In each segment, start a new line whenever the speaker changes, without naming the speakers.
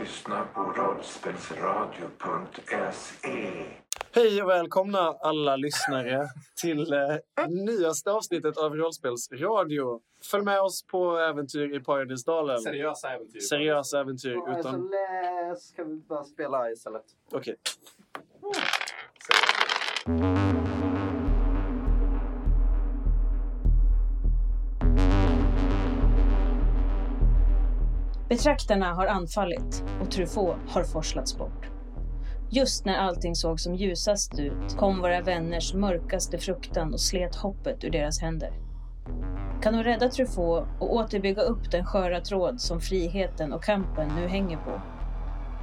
lyssnar på
E.
rollspelsradio.se.
Hej och välkomna alla lyssnare till eh, nyaste avsnittet av Rollspelsradio. Följ med oss på äventyr i Paradisdalen.
Seriösa äventyr.
Seriösa äventyr
Jag är
alltså,
så
utan...
less. Kan vi bara spela istället?
Okej.
Betraktarna har anfallit och Truffaut har forslats bort. Just när allting såg som ljusast ut kom våra vänners mörkaste fruktan och slet hoppet ur deras händer. Kan de rädda Truffaut och återbygga upp den sköra tråd som friheten och kampen nu hänger på?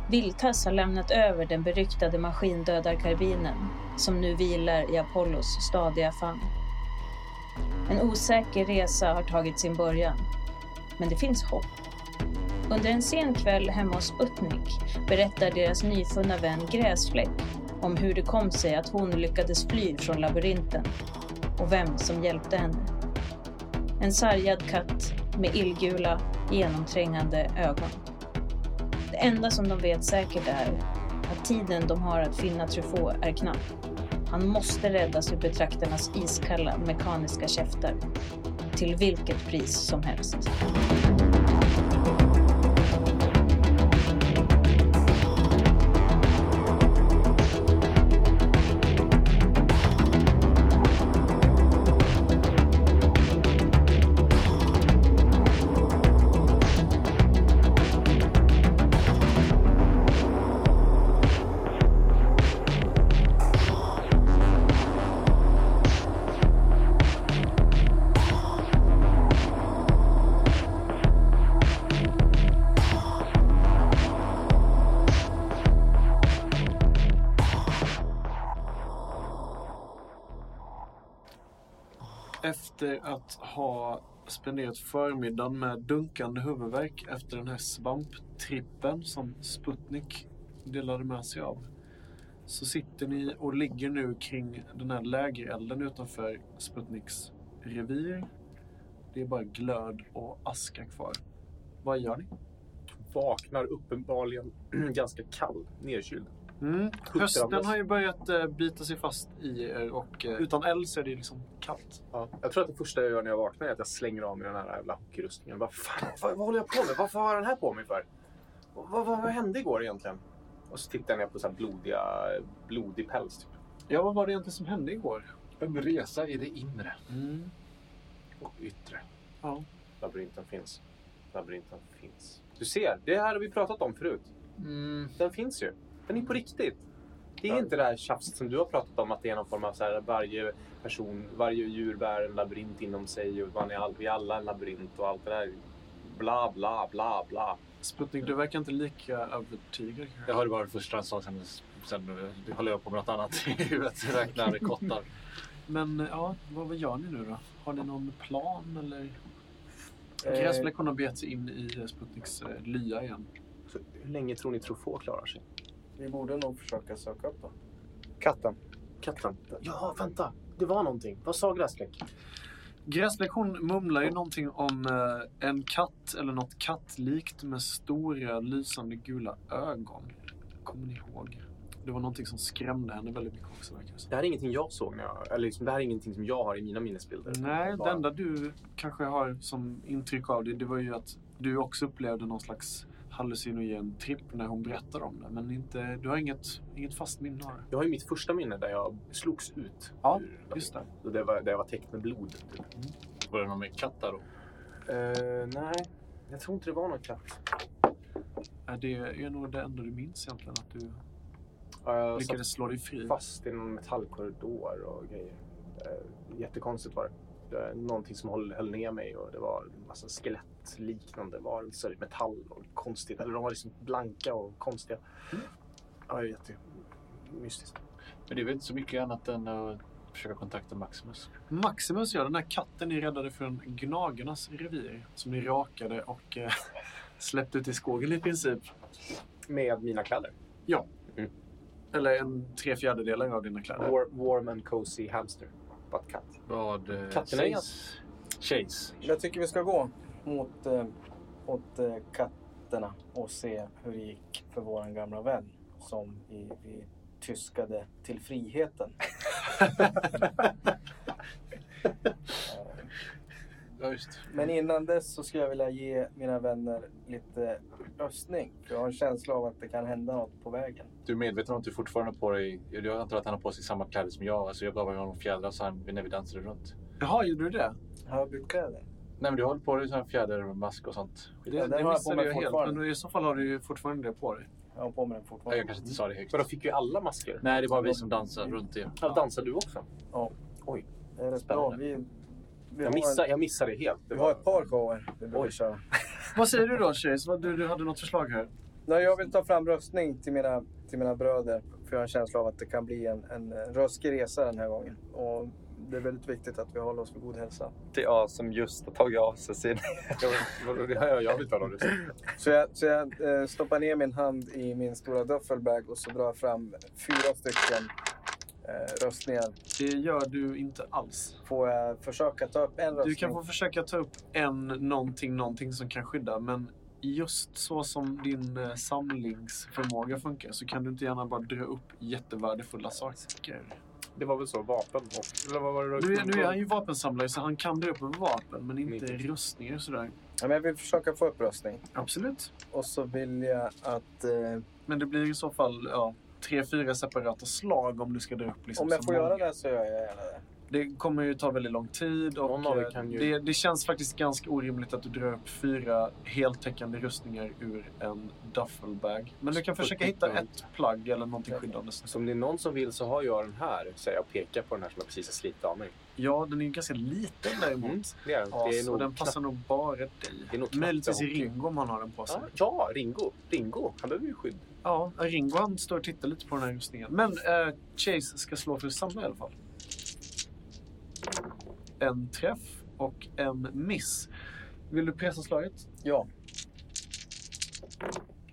Viltass har lämnat över den beryktade maskindödarkarbinen som nu vilar i Apollos stadiga famn. En osäker resa har tagit sin början, men det finns hopp. Under en sen kväll hemma hos Utnik berättar deras nyfunna vän Gräsfläck om hur det kom sig att hon lyckades fly från labyrinten och vem som hjälpte henne. En sargad katt med illgula, genomträngande ögon. Det enda som de vet säkert är att tiden de har att finna Truffaut är knapp. Han måste räddas ur betraktarnas iskalla mekaniska käftar. Till vilket pris som helst.
Efter att ha spenderat förmiddagen med dunkande huvudvärk efter den här svamptrippen som Sputnik delade med sig av så sitter ni och ligger nu kring den här lägerelden utanför Sputniks revir. Det är bara glöd och aska kvar. Vad gör ni?
Vaknar uppenbarligen ganska kall, nedkyld.
Mm.
Sjutton
Hösten
andas.
har ju börjat eh, bita sig fast i er och eh, utan eld så är det liksom kallt.
Ja. Jag tror att det första jag gör när jag vaknar är att jag slänger av mig den här jävla hockeyrustningen. Vad fan, vad, vad håller jag på med? Varför har jag den här på mig för? Vad, vad, vad hände igår egentligen? Och så tittar jag ner på så här blodiga, blodig päls. Typ.
Ja, vad var det egentligen som hände igår?
En resa i det inre.
Mm.
Och yttre.
Ja.
Labyrinten finns. Labyrinten finns. Du ser, det här har vi pratat om förut.
Mm.
Den finns ju. Den är på riktigt. Det är
Ja.
inte det här tjafset som du har pratat om att det är någon form av så här, varje person, varje djur bär en labyrint inom sig och man är all, vi är alla en labyrint och allt det där. Bla, bla, bla, bla.
Sputnik, du verkar inte lika övertygad.
Jag hörde bara det första han sa, sen, sen håller jag på med något annat i huvudet. Räknar kottar.
Men eh, ja, vad, vad gör ni nu då? Har ni någon plan eller?
Eh,
Gräsfläckorna har begett sig in i eh, Sputniks eh, lya igen.
Så Hur länge tror ni Truffaut klarar sig?
Vi borde nog försöka söka upp dem.
Katten. Katten. Ja, vänta. Det var någonting. Vad sa Gräsläck?
Gräsfläck hon mumlar ju någonting om eh, en katt eller något kattlikt med stora lysande gula ögon. Kommer ni ihåg? Det var någonting som skrämde henne väldigt mycket också verkar det som.
Det här är ingenting jag såg när jag... Eller liksom, det här är ingenting som jag har i mina minnesbilder.
Nej,
Bara-
det enda du kanske har som intryck av det, det var ju att du också upplevde någon slags hallucinogen tripp när hon berättade om det. Men inte, du har inget, inget fast minne av det.
Jag har ju mitt första minne där jag slogs ut.
Ja,
ur-
Just det.
Och det var, där jag var täckt med blod. Typ.
Mm. Var det någon med katt där då?
Eh, nej, jag tror inte det var någon katt.
Äh, Det är nog det enda du minns egentligen, att du
Ja, jag satt
lyckades slå dig fri.
fast i någon metallkorridor och grejer. Eh, jättekonstigt var det. det. var Någonting som höll, höll ner mig och det var en massa skelettliknande varelser i metall och konstigt. Eller de var liksom blanka och konstiga. Ja, det är jättemystiskt.
Men det är väl inte så mycket annat än att försöka kontakta Maximus.
Maximus, ja, den här katten ni räddade från gnagarnas revir som ni rakade och eh, släppte ut i skogen i princip.
Med mina kläder.
Eller en tre fjärdedelar av dina kläder.
War, warm and cozy hamster. But cat.
Vad eh,
Katterna är
sägs? Chase.
Jag tycker vi ska gå mot, eh, mot eh, katt,
nätterna och se hur det gick för vår gamla vän som vi, vi tyskade till friheten. Eh,
Ja, just.
Men innan dess så skulle jag vilja ge mina vänner lite röstning. För jag har en känsla av att det kan hända något på vägen.
Du är medveten om att du fortfarande har på dig... Jag antar att han har på sig samma kläder som jag. Alltså jag gav honom fjädrar så han, när vi dansade runt.
Jaha, gjorde du det?
Har jag bytt kläder?
Nej, men du har på dig sån här fjädermask och sånt.
Det,
Ja, den
det
har jag på
missade
mig
jag helt.
fortfarande.
Men i så fall har du ju fortfarande det på dig.
Jag har på mig den
Ja,
fortfarande.
jag kanske inte sa det högt.
För då fick ju alla masker.
Nej, det är bara vi som dansar runt det.
Ja. Dansar du också?
Det är rätt bra.
Spännande.
Vi, vi, har
Jag missar,
en,
jag missar det helt. Det
vi har
var...
ett par shower vi
Oj.
borde köra.
Vad säger du då, Chase? Vad- Du, du hade något förslag här.
Nej, jag vill ta fram röstning till mina, till mina bröder. För jag har en känsla av att det kan bli en, en röskig resa den här gången. Och det är väldigt viktigt att vi håller oss för god hälsa.
Det är jag som just har tagit av sig sin...
Ja, jag vill ta dem.
Så jag, så jag eh, stoppar ner min hand i min stora duffelbag och så drar jag fram fyra stycken eh, röstningar.
Det gör du inte alls.
Får jag försöka ta upp en röstning?
Du kan få försöka ta upp en någonting, någonting som kan skydda, men just så som din eh, samlingsförmåga funkar så kan du inte gärna bara dra upp jättevärdefulla saker.
Det var väl så, vapen och... Eller vad var det?
Nu är, nu är han ju vapensamlare så han kan dra upp vapen, men inte rustningar och sådär.
ja, men jag vill försöka få upp röstning.
Absolut.
Och så vill jag att... Eh,
Men det blir i så fall ja, tre, fyra separata slag om du ska dra upp. Liksom,
om jag
så
får
många.
göra det så gör jag gärna det.
Det kommer ju ta väldigt lång tid
Någon
och
av er
eh,
kan ju-
det, det känns faktiskt ganska orimligt att du drar upp fyra heltäckande rustningar ur en duffelbag. Men du kan försöka hitta ett plagg eller någonting skyddande.
Så om det är någon som vill så har jag den här, säger jag och pekar på den här som jag precis har slitit av mig.
Ja, den är ju ganska liten däremot.
Mm, Det är, den.
Ja,
det är
så
nog
den passar nog bara dig.
Det är nog knappt
Möjligtvis i
en hockey.
Ringo om han har den på sig.
Ja, ja, Ringo. Ringo. Han behöver ju skydd.
Ja, Ringo han står och tittar lite på den här rustningen. Men eh, Chase ska slå för att samla i alla fall. En träff och en miss. Vill du pressa slaget?
Ja.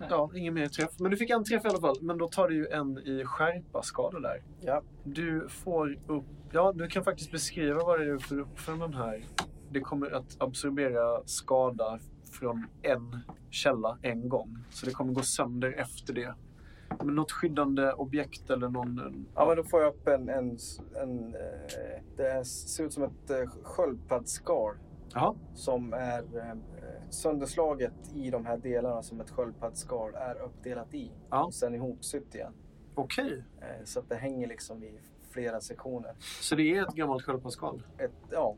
Ja, ingen mer träff. Men du fick en träff i alla fall. Men då tar du ju en i skärpa-skada där.
Ja.
Du får upp... Ja, du kan faktiskt beskriva vad det är för upp för den här. Det kommer att absorbera skada från en källa en gång. Så det kommer gå sönder efter det. Men något skyddande objekt eller någon...
Ja, men då får jag upp en... en, en eh, det ser ut som ett eh, sköldpaddsskal
Jaha.
som är eh, sönderslaget i de här delarna som ett sköldpaddsskal är uppdelat i.
Ja.
Och sen ihopsytt igen.
Okej.
Eh, så att det hänger liksom i flera sektioner.
Så det är ett gammalt sköldpaddsskal?
Ett, ja,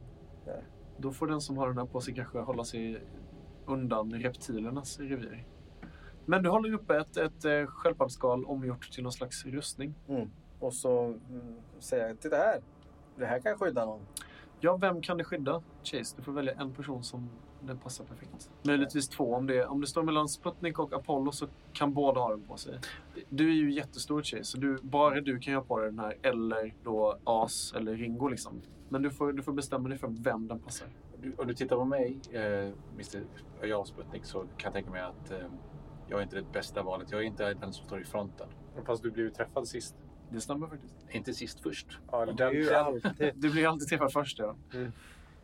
Då får den som har den här på sig kanske hålla sig undan reptilernas revir. Men du håller uppe ett, ett eh, sköldpaddsskal omgjort till någon slags rustning.
och så mm, säger jag, titta här! Det här kan skydda någon.
Ja, vem kan det skydda? Chase, du får välja en person som det passar perfekt. Möjligtvis två. Om det, om det står mellan Sputnik och Apollo så kan båda ha den på sig. Du är ju jättestor Chase, så du, bara du kan ha på dig den här. Eller då As eller Ringo liksom. Men du får, du får bestämma dig för vem den passar.
Du, om du tittar på mig, eh, Mr. Jag och Sputnik, så kan jag tänka mig att eh, jag är inte det bästa valet. Jag är inte den som står i fronten.
Fast du blev ju träffad sist.
Det stämmer faktiskt.
Inte sist först.
Ja,
Du är ju alltid...
Du blir alltid träffad först ja.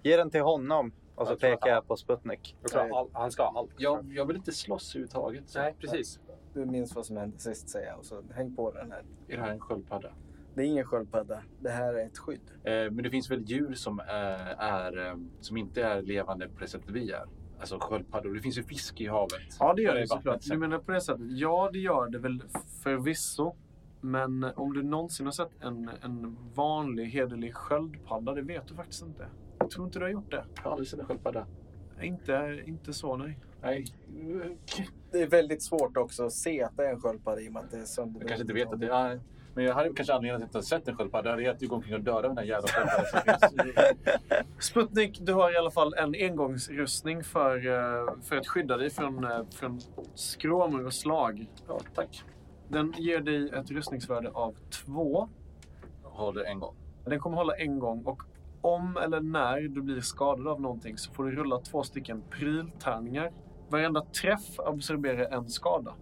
Ge den till honom. Och så
Jag tror att
pekar jag på Sputnik.
jag tror att all, han ska ha allt.
Jag, jag vill inte slåss överhuvudtaget. Så.
Nej, precis.
Du minns vad som hände sist säger jag och så häng på den här.
Är det här en sköldpadda?
Det är ingen sköldpadda. Det här är ett skydd.
Eh, men det finns väl djur som, eh, är, eh, som inte är levande på det sättet vi är? Alltså sköldpaddor. Det finns ju fisk i havet.
Ja, det gör
Eller
det
i vattnet,
såklart.
så.
Du menar på det sättet? Ja, det gör det väl förvisso. Men om du någonsin har sett en, en vanlig hederlig sköldpadda, det vet du faktiskt inte. Jag tror inte du har gjort det.
Jag har aldrig sett en sköldpadda.
Inte, inte så, nej.
Nej.
Det är väldigt svårt också att se att det är en sköldpadda i och med att det är
Jag kanske inte vet att det är... Men jag hade kanske anledningen att inte ha sett en sköldpadda. Det är att du går omkring och dödar den här jävla sköldpaddan som finns.
Sputnik, du har i alla fall en engångsrustning för, eh, för att skydda dig från, eh, från skråmor och slag.
Ja, tack.
Den ger dig ett rustningsvärde av två.
Har det en gång.
Den kommer hålla en gång och om eller när du blir skadad av någonting så får du rulla två stycken pryltärningar. Varenda träff absorberar en skada.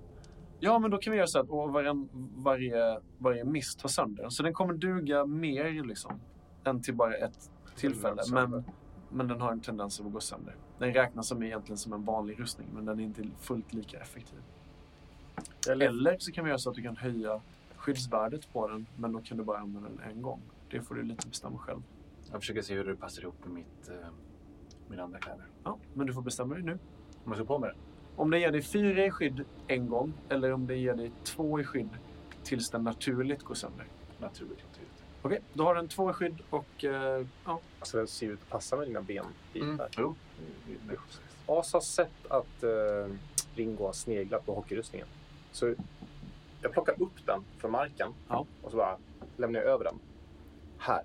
Ja, men då kan vi göra så att och varen, varje, varje miss tar sönder den. Så den kommer duga mer liksom, än till bara ett tillfälle. Men Men den har en tendens att gå sönder. Den räknas som egentligen som en vanlig rustning, men den är inte fullt lika effektiv. Eller så kan vi göra så att du kan höja skyddsvärdet på den, men då kan du bara använda den en gång. Det får du lite bestämma själv.
Jag försöker se hur det passar ihop med mitt, eh, mina andra kläder.
Ja, men du får bestämma dig nu.
Om jag ska på med det.
Om det ger dig fyra i skydd en gång eller om det ger dig två i skydd tills den naturligt går sönder.
Naturligt. inte ut.
Okej, då har den två i skydd och eh, ja,
Alltså den ser ut att passa med dina ben.
Mm. Jo. det är
As har sett att eh, Ringo har sneglat på hockeyrustningen. Så jag plockar upp den från marken
Ja.
och så bara lämnar jag över den. Här.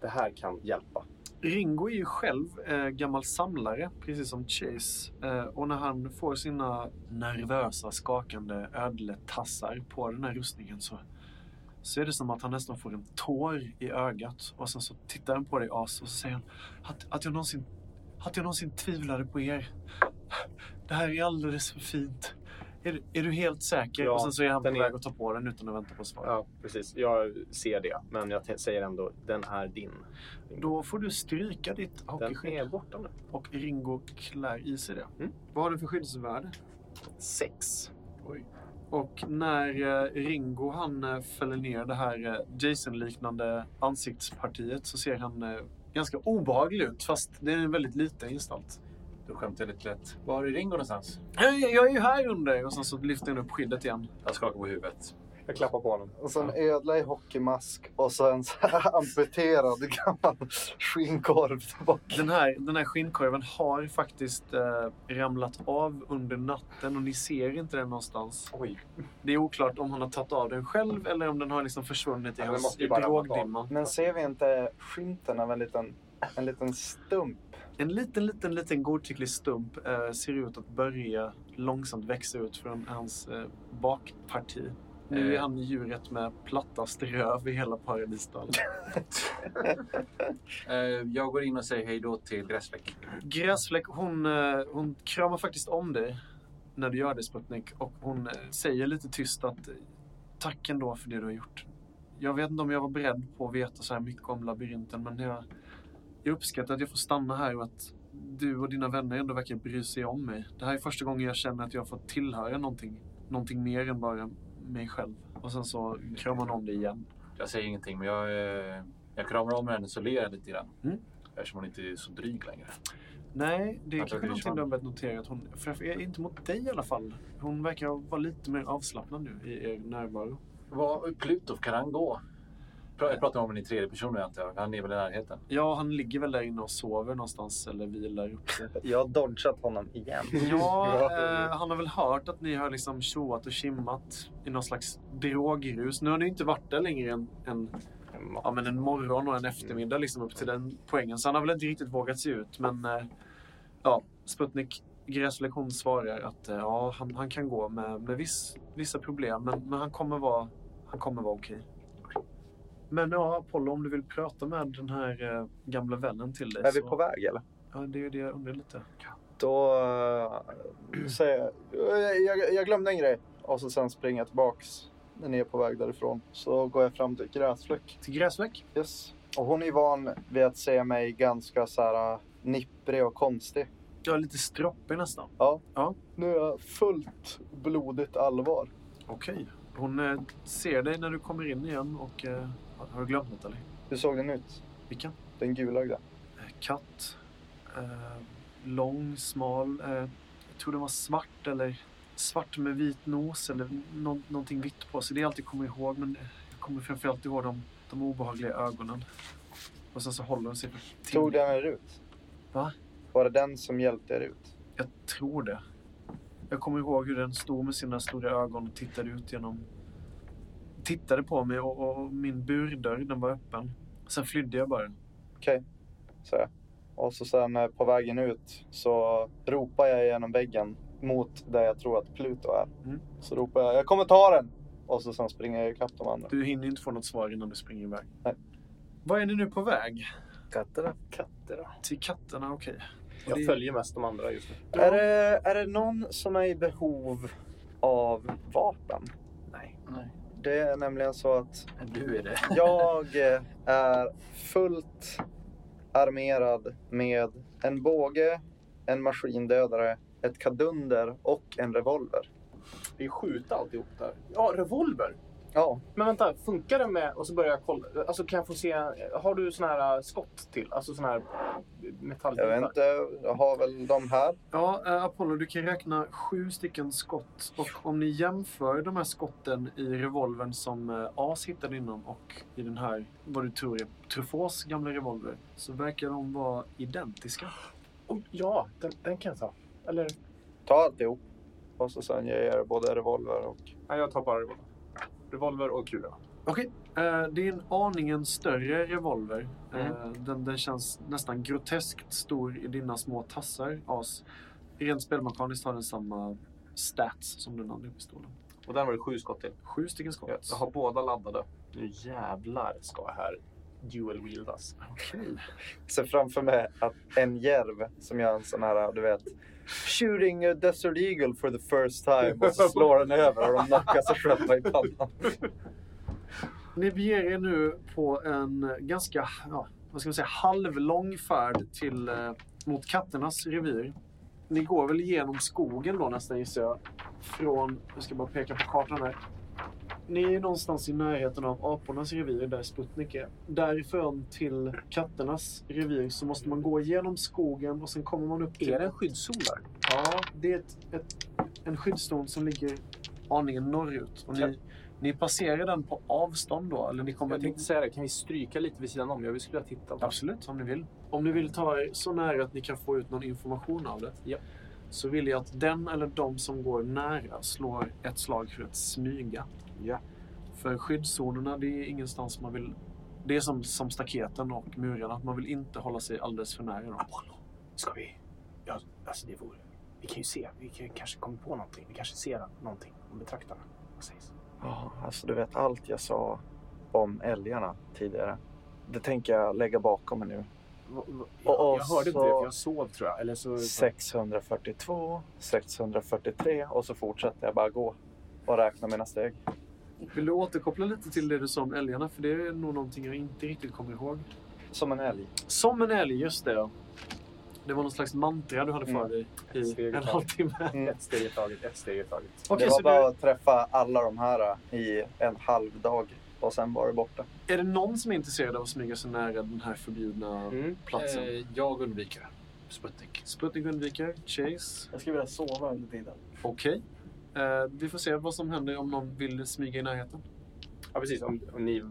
Det här kan hjälpa.
Ringo är ju själv eh, gammal samlare, precis som Chase. Eh, och när han får sina nervösa, skakande ödletassar på den här rustningen så, så är det som att han nästan får en tår i ögat. Och sen så tittar han på dig, As, och så säger han att, att, jag någonsin, att jag någonsin tvivlade på er. Det här är alldeles för fint. Är, är du helt säker?
Ja,
och sen så är han på
den är-
väg att ta på den utan att vänta på svar.
Ja, precis. Jag ser det, men jag t- säger ändå den är din.
Då får du stryka ditt
Den
hockeyskydd.
är borta nu.
Och Ringo klär i sig det.
Mm.
Vad har den för skyddsvärde?
Sex.
Och när eh, Ringo han eh, fäller ner det här eh, Jason-liknande ansiktspartiet så ser han eh, ganska obehaglig ut fast det är en väldigt liten gestalt.
Du skämtar lite lätt. Var är Ringo någonstans?
"Hej, Jag är ju här under! Och sen så lyfter han upp skyddet igen.
Jag skakar på huvudet.
Jag klappar på honom.
Och så en ödla i hockeymask och så en så här amputerad gammal skinnkorv tillbaka.
Den här, den här skinnkorven har faktiskt eh, ramlat av under natten och ni ser inte den någonstans.
Oj.
Det är oklart om han har tagit av den själv eller om den har liksom försvunnit i
Ja, den
hans
måste ju
i
bara ha varit av.
drogdimman.
Men ser vi inte skymten av en liten, en liten stump?
En liten, liten, liten godtycklig stump eh, ser ut att börja långsamt växa ut från hans eh, bakparti. Nu är
Eh.
han djuret med plattast röv i hela paradisdalen.
Eh, jag går in och säger hej då till Gräsfläck.
Gräsfläck, hon, eh, hon kramar faktiskt om dig när du gör det Sputnik och hon eh, säger lite tyst att eh, tack ändå för det du har gjort. Jag vet inte om jag var beredd på att veta så här mycket om labyrinten men jag, jag uppskattar att jag får stanna här och att du och dina vänner ändå verkar bry sig om mig. Det här är första gången jag känner att jag får tillhöra någonting, någonting mer än bara mig själv. Och sen så kramar hon om dig igen.
Jag säger ingenting, men jag, eh, jag kramar om henne så ler jag lite grann.
Mm.
Eftersom hon inte är så dryg längre.
Nej, det är
Att det
kanske
blir
någonting
sant.
du har börjat notera. Att hon, för jag är inte mot dig i alla fall. Hon verkar vara lite mer avslappnad nu i er närvaro.
Vad, Pluto, kan han gå? Pra- Jag pratar om honom i tredje person nu antar jag. Han är väl i närheten.
Ja, han ligger väl där inne och sover någonstans eller vilar upp sig.
Jag har dodgat honom igen.
Ja, eh, han har väl hört att ni har liksom tjoat och kimmat i någon slags drogrus. Nu har ni inte varit där längre än, än ja, men en morgon och en eftermiddag liksom upp till den poängen. Så han har väl inte riktigt vågat sig ut. Men eh, ja, Sputnik Gräsfläck hon svarar att eh, ja, han, han kan gå med, med viss, vissa problem. Men, men han kommer vara, han kommer vara okej. Men ja, Apollo, om du vill prata med den här eh, gamla vännen till dig.
Är vi
så-
på väg eller?
Ja, det är ju det jag undrar lite.
Då eh, säger jag, jag, jag, jag glömde en grej. Och så sen springer jag tillbaks när ni är på väg därifrån. Så går jag fram till gräsfläck.
Till Gräsfläck?
Yes. Och hon är van vid att se mig ganska så här eh, nipprig och konstig.
Ja, lite stroppig nästan.
Nu är jag fullt blodigt allvar.
Okej. Hon eh, ser dig när du kommer in igen och eh, har du glömt något eller?
Hur såg den ut?
Vilken?
Den gulögda?
katt. Eh, lång, smal. Eh, jag tror den var svart eller svart med vit nos eller nå- någonting vitt på sig. Det är allt jag kommer ihåg men jag kommer framförallt ihåg de, de obehagliga ögonen. Och sen så håller hon sig för tinningen.
Tog den er ut?
Va?
Var det den som hjälpte er ut?
Jag tror det. Jag kommer ihåg hur den stod med sina stora ögon och tittade ut genom... Tittade på mig och, och- och min burdörr, den var öppen. Sen flydde jag bara.
Så jag. Och så sen eh, på vägen ut så ropar jag genom väggen mot där jag tror att Pluto är.
Mm.
Så ropar jag, jag kommer ta den! Och så sen springer jag ikapp de andra.
Du hinner inte få något svar innan du springer iväg.
Nej.
Vad är ni nu på väg?
Katterna.
Katterna.
Till katterna, okej. Och det-
Jag följer mest de andra just nu.
Är, det, är det någon som är i behov av vapen?
Nej.
Det är nämligen så att
Du är det.
jag eh, är fullt armerad med en båge, en maskindödare, ett kadunder och en revolver.
Det är skjuta alltihop där. Ja, revolver.
Ja,
Men vänta, funkar det med... Och så börjar jag kolla. Alltså kan jag få se... Har du sån här äh, skott till? Alltså sån här
jag vet
metallbitar?
inte. Jag har väl de här.
Ja, eh, Apollo, du kan räkna sju stycken skott. Och om ni jämför de här skotten i revolvern som eh, As hittade innan och i den här, vad du tror är Truffauts gamla revolver, så verkar de vara identiska.
Oj, ja, den, den kan jag ta. Eller?
Ta alltihop. Och så sen ger jag er både revolver och...
Nej, jag tar bara revolver. Revolver och kulorna.
Okej, eh, det är en aningen större revolver.
Mm.
Eh, Den, den känns nästan groteskt stor i dina små tassar, As. Rent spelmekaniskt har den samma stats som den andra pistolen.
Och där var det sju skott till.
Sju stycken skott.
Jag har båda laddade.
Nu jävlar ska här dual
alltså.
wieldas.
Okej.
ser framför mig att en järv som gör en sån här, du vet, shooting a desert eagle for the first time och så slår den över och de nackar sig själva i pannan.
Ni beger er nu på en ganska, ja, vad ska man säga, halvlång färd till, eh, mot katternas revir. Ni går väl genom skogen då nästan gissar jag. Från, jag ska bara peka på kartan här. Ni är någonstans i närheten av apornas revir där Sputnik är. Därifrån till katternas revir så måste man gå genom skogen och sen kommer man upp till...
Är det en skyddszon där?
Ja, det är ett, ett, en skyddszon som ligger aningen norrut. Och ni, ni passerar den på avstånd då? Eller ni kommer
Jag tänkte säga det, kan vi stryka lite vid sidan om? Jag skulle ha tittat.
Absolut, om ni vill. Om ni vill ta er så nära att ni kan få ut någon information av det.
Ja.
Så vill jag att den eller de som går nära slår ett slag för att smyga.
Ja.
För skyddszonerna, det är ingenstans man vill... Det är som, som staketen och murarna, att man vill inte hålla sig alldeles för nära dem.
Apollo, ska vi... Ja, alltså det vore... Vi kan ju se. Vi kan, kanske kommer på någonting. Vi kanske ser någonting om betraktarna. Vad sägs?
Ja, alltså du vet allt jag sa om älgarna tidigare. Det tänker jag lägga bakom mig nu.
Va- va-
Och- och
Jag, jag hörde inte det,
så-
för jag sov tror jag. Eller så...
642, 643 och så fortsätter jag bara gå och räkna mina steg.
Vill du återkoppla lite till det du sa om älgarna? För det är nog någonting jag inte riktigt kommer ihåg.
Som en älg.
Som en älg, just det. ja. Det var någon slags mantra du hade för
Mm.
dig
Ett
i
steg i
en
taget.
halvtimme.
Mm.
Ett steg i taget, ett steg i taget.
Okej,
det
så
var bara
du,
att träffa alla de här eh, i en halv dag och sen var det borta.
är det någon som är intresserad av att smyga sig nära den här förbjudna
Mm.
platsen?
Eh, jag undviker Sputnik.
Sputnik undviker, Chase.
Jag skulle vilja sova under tiden.
Okej. Eh, vi får se vad som händer om någon vill smyga i närheten.
Ja, precis. Om, om ni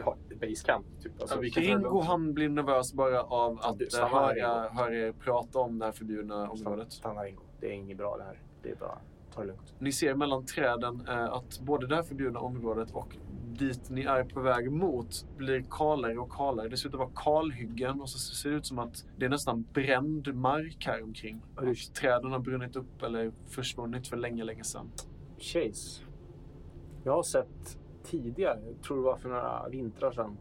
har basecamp, typ. Alltså,
Ja, vi kan-
Ringo han blir nervös bara av
Ja,
att
du,
eh,
stanna här,
höra, höra er prata om det här förbjudna området.
Stanna Ringo. Det är inget bra det här. Det är bara... Ta det lugnt.
Ni ser mellan träden eh, att både det här förbjudna området och dit ni är på väg mot blir kalare och kalare. Det ser ut att vara kalhyggen och så ser det ut som att det är nästan bränd mark här omkring.
Ja, det-
Att träden har brunnit upp eller försvunnit för länge, länge sedan.
Chase. Jag har sett tidigare, jag tror det var för några vintrar sedan,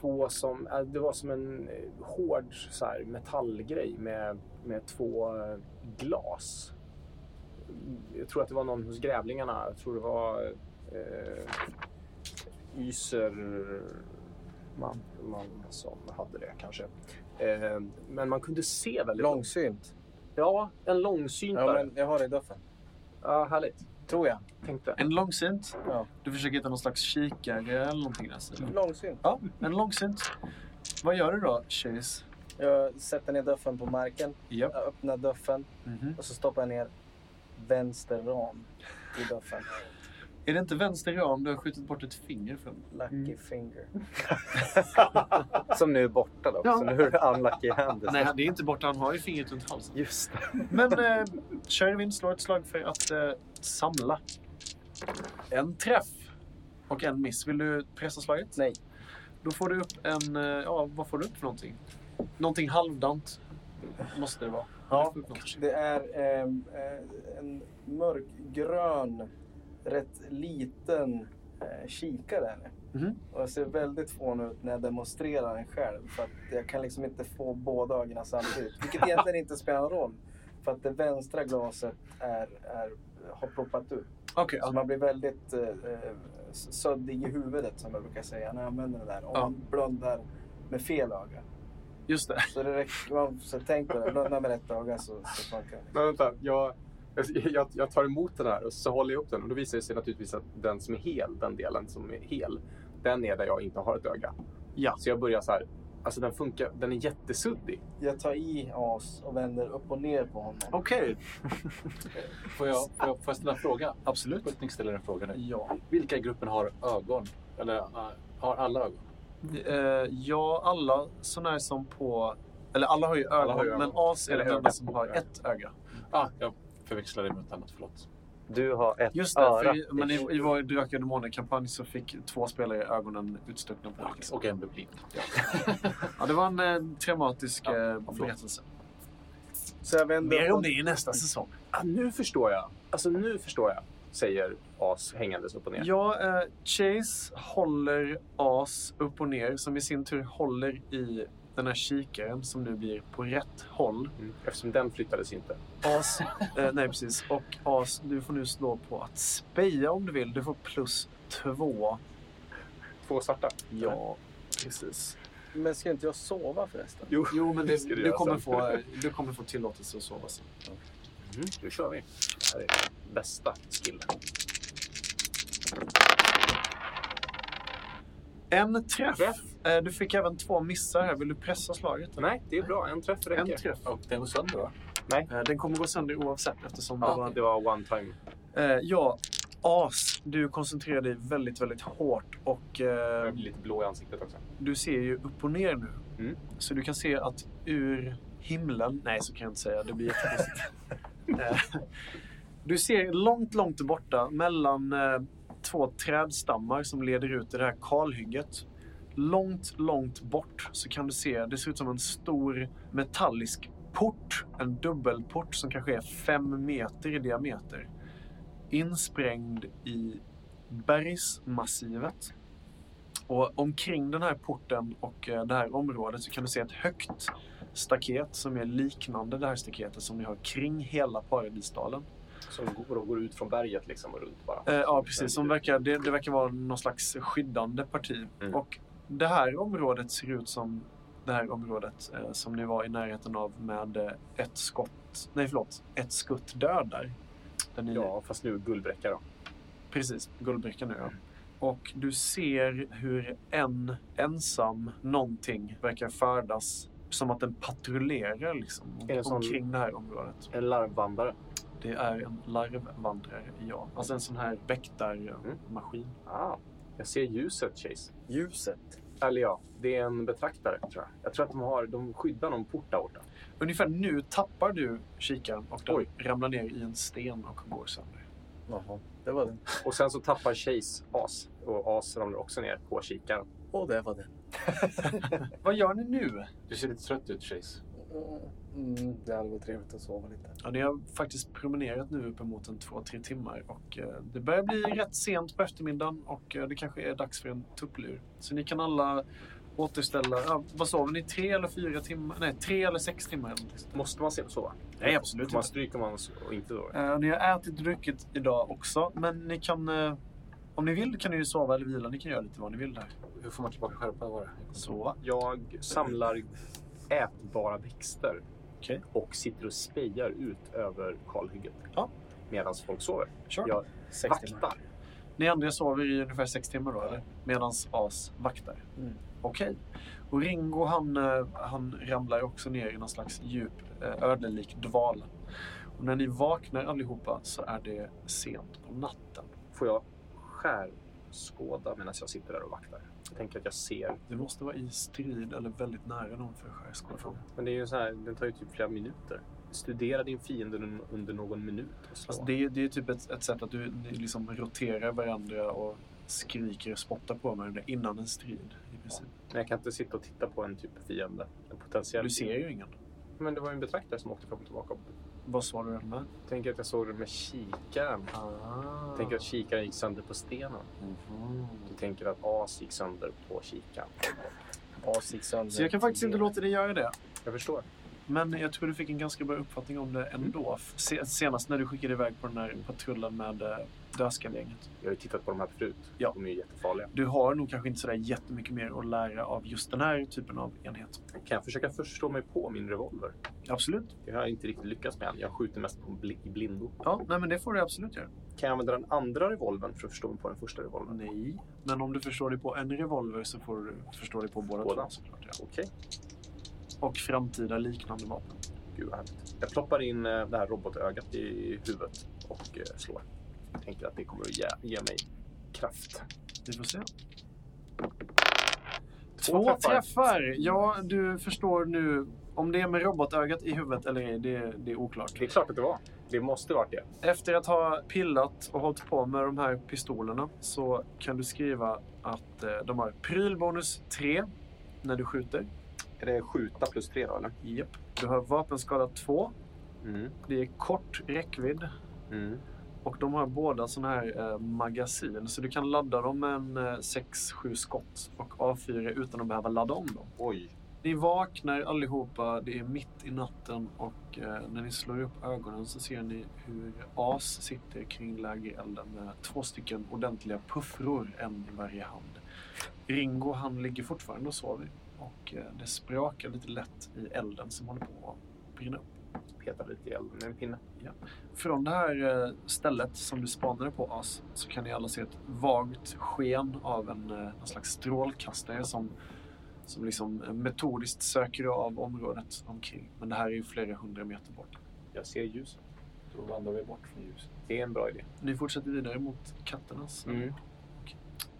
två som... eh, Det var som en eh, hård så här, metallgrej med, med två eh, glas. Jag tror att det var någon hos grävlingarna. Jag tror det var eh, Yser... Man, man som hade det kanske. Eh, men man kunde se väldigt...
Långsynt.
Ja, en långsyntare.
Ja, men jag har det i duffen.
ja, härligt.
Tror jag.
Tänkte.
En långsint.
Ja.
Du försöker hitta någon slags kikare eller någonting där.
Mm.
sidan.
Långsynt.
Ja, en långsint. Vad gör du då, Chase?
Jag sätter ner duffen på marken.
Japp.
Jag öppnar duffen
Mhm.
och så stoppar jag ner vänster ram i duffen.
Är det inte vänster ram du har skjutit bort ett finger från?
Lucky finger.
Som nu är borta då,
Ja.
så nu är det unlucky hands.
Nej, det är inte borta. Han har ju fingret runt halsen.
Just det.
Men eh, Sherwin slår ett slag för att eh, samla. En träff och en miss. Vill du pressa slaget?
Nej.
Då får du upp en... Eh, ja, vad får du upp för någonting? Någonting halvdant måste det vara.
Ja.
Du får upp något.
Det är ehm, eh, en mörkgrön, rätt liten eh, kikare. är det.
Mhm.
Och jag ser väldigt fån ut när jag demonstrerar den själv. För att jag kan liksom inte få båda ögonen samtidigt. Vilket egentligen inte spelar någon roll. För att det vänstra glaset är, är, har ploppat ut.
Okej,
Så
ja.
man blir väldigt eh, eh, suddig i huvudet som jag brukar säga när jag använder det där. Om
Ja.
man blundar med fel öga.
Just det.
Så det räcker, man, så tänk på det, blunda med rätt öga så, alltså, så funkar det.
Men vänta, jag, jag- jag, jag tar emot den här och så håller jag upp den. Och då visar det sig naturligtvis att den som är hel, den delen som är hel, den är där jag inte har ett öga.
Ja.
Så jag börjar så här. Alltså den funkar, den är jättesuddig.
Jag tar i as och vänder upp och ner på honom.
Okej.
Får jag, får jag, får jag ställa en fråga?
Absolut.
Sputnik ställer en fråga nu.
Ja.
Vilka i gruppen har ögon? Eller äh, har alla ögon?
Eh, ja, alla så när som på... Eller alla har ju ögon,
Alla har ju ögon.
men As är
Eller
den enda
öga.
som har ett öga.
Ah, jag förväxlade med något annat, förlåt.
Du har ett
Just det,
öra.
för i, men i, i vår Drakar och Demoner-kampanj så fick två spelare ögonen utstuckna på
Max
liksom.
och en blir blind.
Ja, det var en eh, traumatisk
Ja,
eh,
förlåt.
berättelse.
Så jag vänder
Mer
upp
om
och
det i nästa säsong.
Ah, nu förstår jag. Alltså nu förstår jag, säger As hängandes upp och ner.
Ja, eh, Chase håller As upp och ner som i sin tur håller i den här kikaren som nu blir på rätt håll.
Mm. Eftersom den flyttades inte.
As, eh, nej precis. Och As, du får nu slå på att speja om du vill. Du får plus två.
Två svarta.
Ja, precis.
Men ska inte jag sova förresten?
Jo,
Jo, men det,
ska du
du,
göra
kommer
sen.
få, eh, du kommer få tillåtelse att sova sen.
Mm, Nu kör vi. Det här är den bästa skillen.
En träff.
Träff.
Eh, Du fick även två missar här. Vill du pressa slaget? eller?
Nej, det är bra. En träff räcker.
En träff.
Och den går sönder va?
Eh, Den kommer gå sönder oavsett eftersom det var
Ja, det var one time.
Eh, ja, As, du koncentrerar dig väldigt, väldigt hårt och eh,
Jag blir lite blå i ansiktet också.
du ser ju upp och ner nu.
Mm.
Så du kan se att ur himlen, nej så kan jag inte säga, det blir jättekonstigt. eh, du ser långt, långt borta mellan eh, två trädstammar som leder ut i det här kalhygget. Långt, långt bort så kan du se, det ser ut som en stor metallisk port, en dubbelport som kanske är fem meter i diameter. Insprängd i bergsmassivet. Och omkring den här porten och eh, det här området så kan du se ett högt staket som är liknande det här staketet som ni har kring hela Paradisdalen.
Som går, och går ut från berget liksom och runt bara.
Eh, ja, precis. Som verkar, det, det verkar vara någon slags skyddande parti.
Mm.
Och det här området ser ut som det här området eh, som ni var i närheten av med eh, ett skott, nej förlåt, ett skutt död där. Där ni
Ja, fast nu guldbräcka då.
Precis, guldbricka nu ja. Och du ser hur en ensam någonting verkar färdas som att den patrullerar liksom,
Är det en sån-
omkring det här området.
En larvvandrare.
Det är en larvvandrare, ja. Alltså en sån här väktarmaskin.
Ah, jag ser ljuset, Chase.
Ljuset.
Eller ja, det är en betraktare tror jag. Jag tror att de, har, de skyddar någon port där borta.
Ungefär nu tappar du kikaren och den
Oj.
ramlar ner i en sten och går sönder.
Jaha, det var den.
Och sen så tappar Chase as. Och as ramlar också ner på kikaren.
Och det var den.
Vad gör ni nu?
Du ser lite trött ut Chase.
Mm, det hade varit trevligt att sova lite.
Ja, ni har faktiskt promenerat nu uppemot en två, tre timmar och eh, det börjar bli rätt sent på eftermiddagen och eh, det kanske är dags för en tupplur. Så ni kan alla återställa, ja, vad sover ni, tre eller fyra timmar? Nej, tre eller sex timmar eller någonting sånt där.
Måste man se- sova?
Nej, absolut
Får man
inte.
stryk om man so- och inte då?
Eh, Ni har ätit och druckit idag också, men ni kan, eh, om ni vill kan ni ju sova eller vila, ni kan göra lite vad ni vill där.
Hur får man tillbaka skärpa var det?
Sova.
Jag samlar ätbara växter.
Okej.
Och sitter och spejar ut över kalhygget.
Ja.
Medan folk sover.
Sure.
Jag
Sex timmar.
vaktar.
Ni andra sover i ungefär sex timmar då, eller? Medan As vaktar.
Mm.
Okej. Och Ringo, han, eh, han ramlar också ner i någon slags djup eh, ödelik dvala. Och när ni vaknar allihopa så är det sent på natten.
Får jag skärskåda medan jag sitter där och vaktar? Jag tänker att jag ser.
Du måste vara i strid eller väldigt nära någon för att skärskåda från.
Men det är ju så här, den tar ju typ flera minuter. Studera din fiende un- under någon minut och slå.
Alltså det, är- det är typ ett, ett sätt att du ni liksom roterar varandra och skriker och spottar på varandra innan en strid. I princip.
Men jag kan inte sitta och titta på en typ av fiende. En potentiell
Du ser
fiende.
ju ingen.
Men det var ju en betraktare som åkte fram och tillbaka.
Vad svarar du den med?
Jag tänker att jag såg det med kikaren.
Ah.
Jag tänker att kikaren gick sönder på stenen.
Mhm.
Du tänker att as gick sönder på kikaren.
As gick sönder.
Så jag kan faktiskt inte låta dig göra det.
Jag förstår.
Men jag tror du fick en ganska bra uppfattning om det ändå. F- se- Senast när du skickade iväg på den här patrullen med eh, dödskallegänget.
Jag har ju tittat på de här förut.
Ja.
De är ju jättefarliga.
Du har nog kanske inte sådär jättemycket mer att lära av just den här typen av enhet.
Kan jag försöka förstå mig på min revolver?
Absolut.
Det har jag inte riktigt lyckats med än. Jag skjuter mest på bl- i blindo.
Ja, nej, men det får du absolut göra.
Kan jag använda den andra revolvern för att förstå mig på den första revolvern?
Nej. Men om du förstår dig på en revolver så får du förstå dig på båda,
Båda.
två såklart. Ja.
Okej.
Och framtida liknande vapen.
Gud vad härligt. Jag ploppar in eh, det här robotögat i huvudet och eh, slår. Jag tänker att det kommer att ge, ge mig kraft.
Vi får se.
Två
Två
träffar.
träffar. Ja, du förstår nu. Om det är med robotögat i huvudet eller ej, det, det är oklart.
Det är klart att det var. Det måste varit det.
Efter att ha pillat och hållit på med de här pistolerna så kan du skriva att eh, de har prylbonus 3 när du skjuter.
Är det skjuta plus tre då eller?
Japp. Du har vapenskada 2.
Mm.
Det är kort räckvidd
Mm.
och de har båda sådana här eh, magasin. Så du kan ladda dem med en eh, 6-7 skott och avfyra utan att behöva ladda om dem.
Oj.
Ni vaknar allihopa, det är mitt i natten och eh, när ni slår upp ögonen så ser ni hur As sitter kring lägerelden med två stycken ordentliga puffror, en i varje hand. Ringo han ligger fortfarande och sover och eh, det sprakar lite lätt i elden som håller på att brinna upp.
Petar lite i elden med en pinne.
Från det här eh, stället som du spanade på As så kan ni alla se ett vagt sken av en, eh, en slags strålkastare som, som liksom eh, metodiskt söker av området omkring. Men det här är ju flera hundra meter bort.
Jag ser ljuset.
Då vandrar vi bort från ljuset.
Det är en bra idé.
Ni fortsätter vidare mot katternas.
Mm.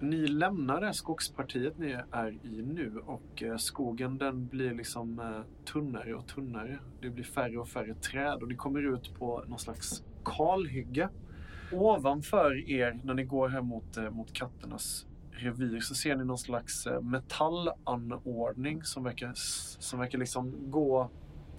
Ni lämnar det här skogspartiet ni är i nu och eh, skogen den blir liksom eh, tunnare och tunnare. Det blir färre och färre träd och ni kommer ut på någon slags kalhygge. Ovanför er, när ni går här mot, eh, mot katternas revir, så ser ni någon slags eh, metallanordning som verkar, s- som verkar liksom gå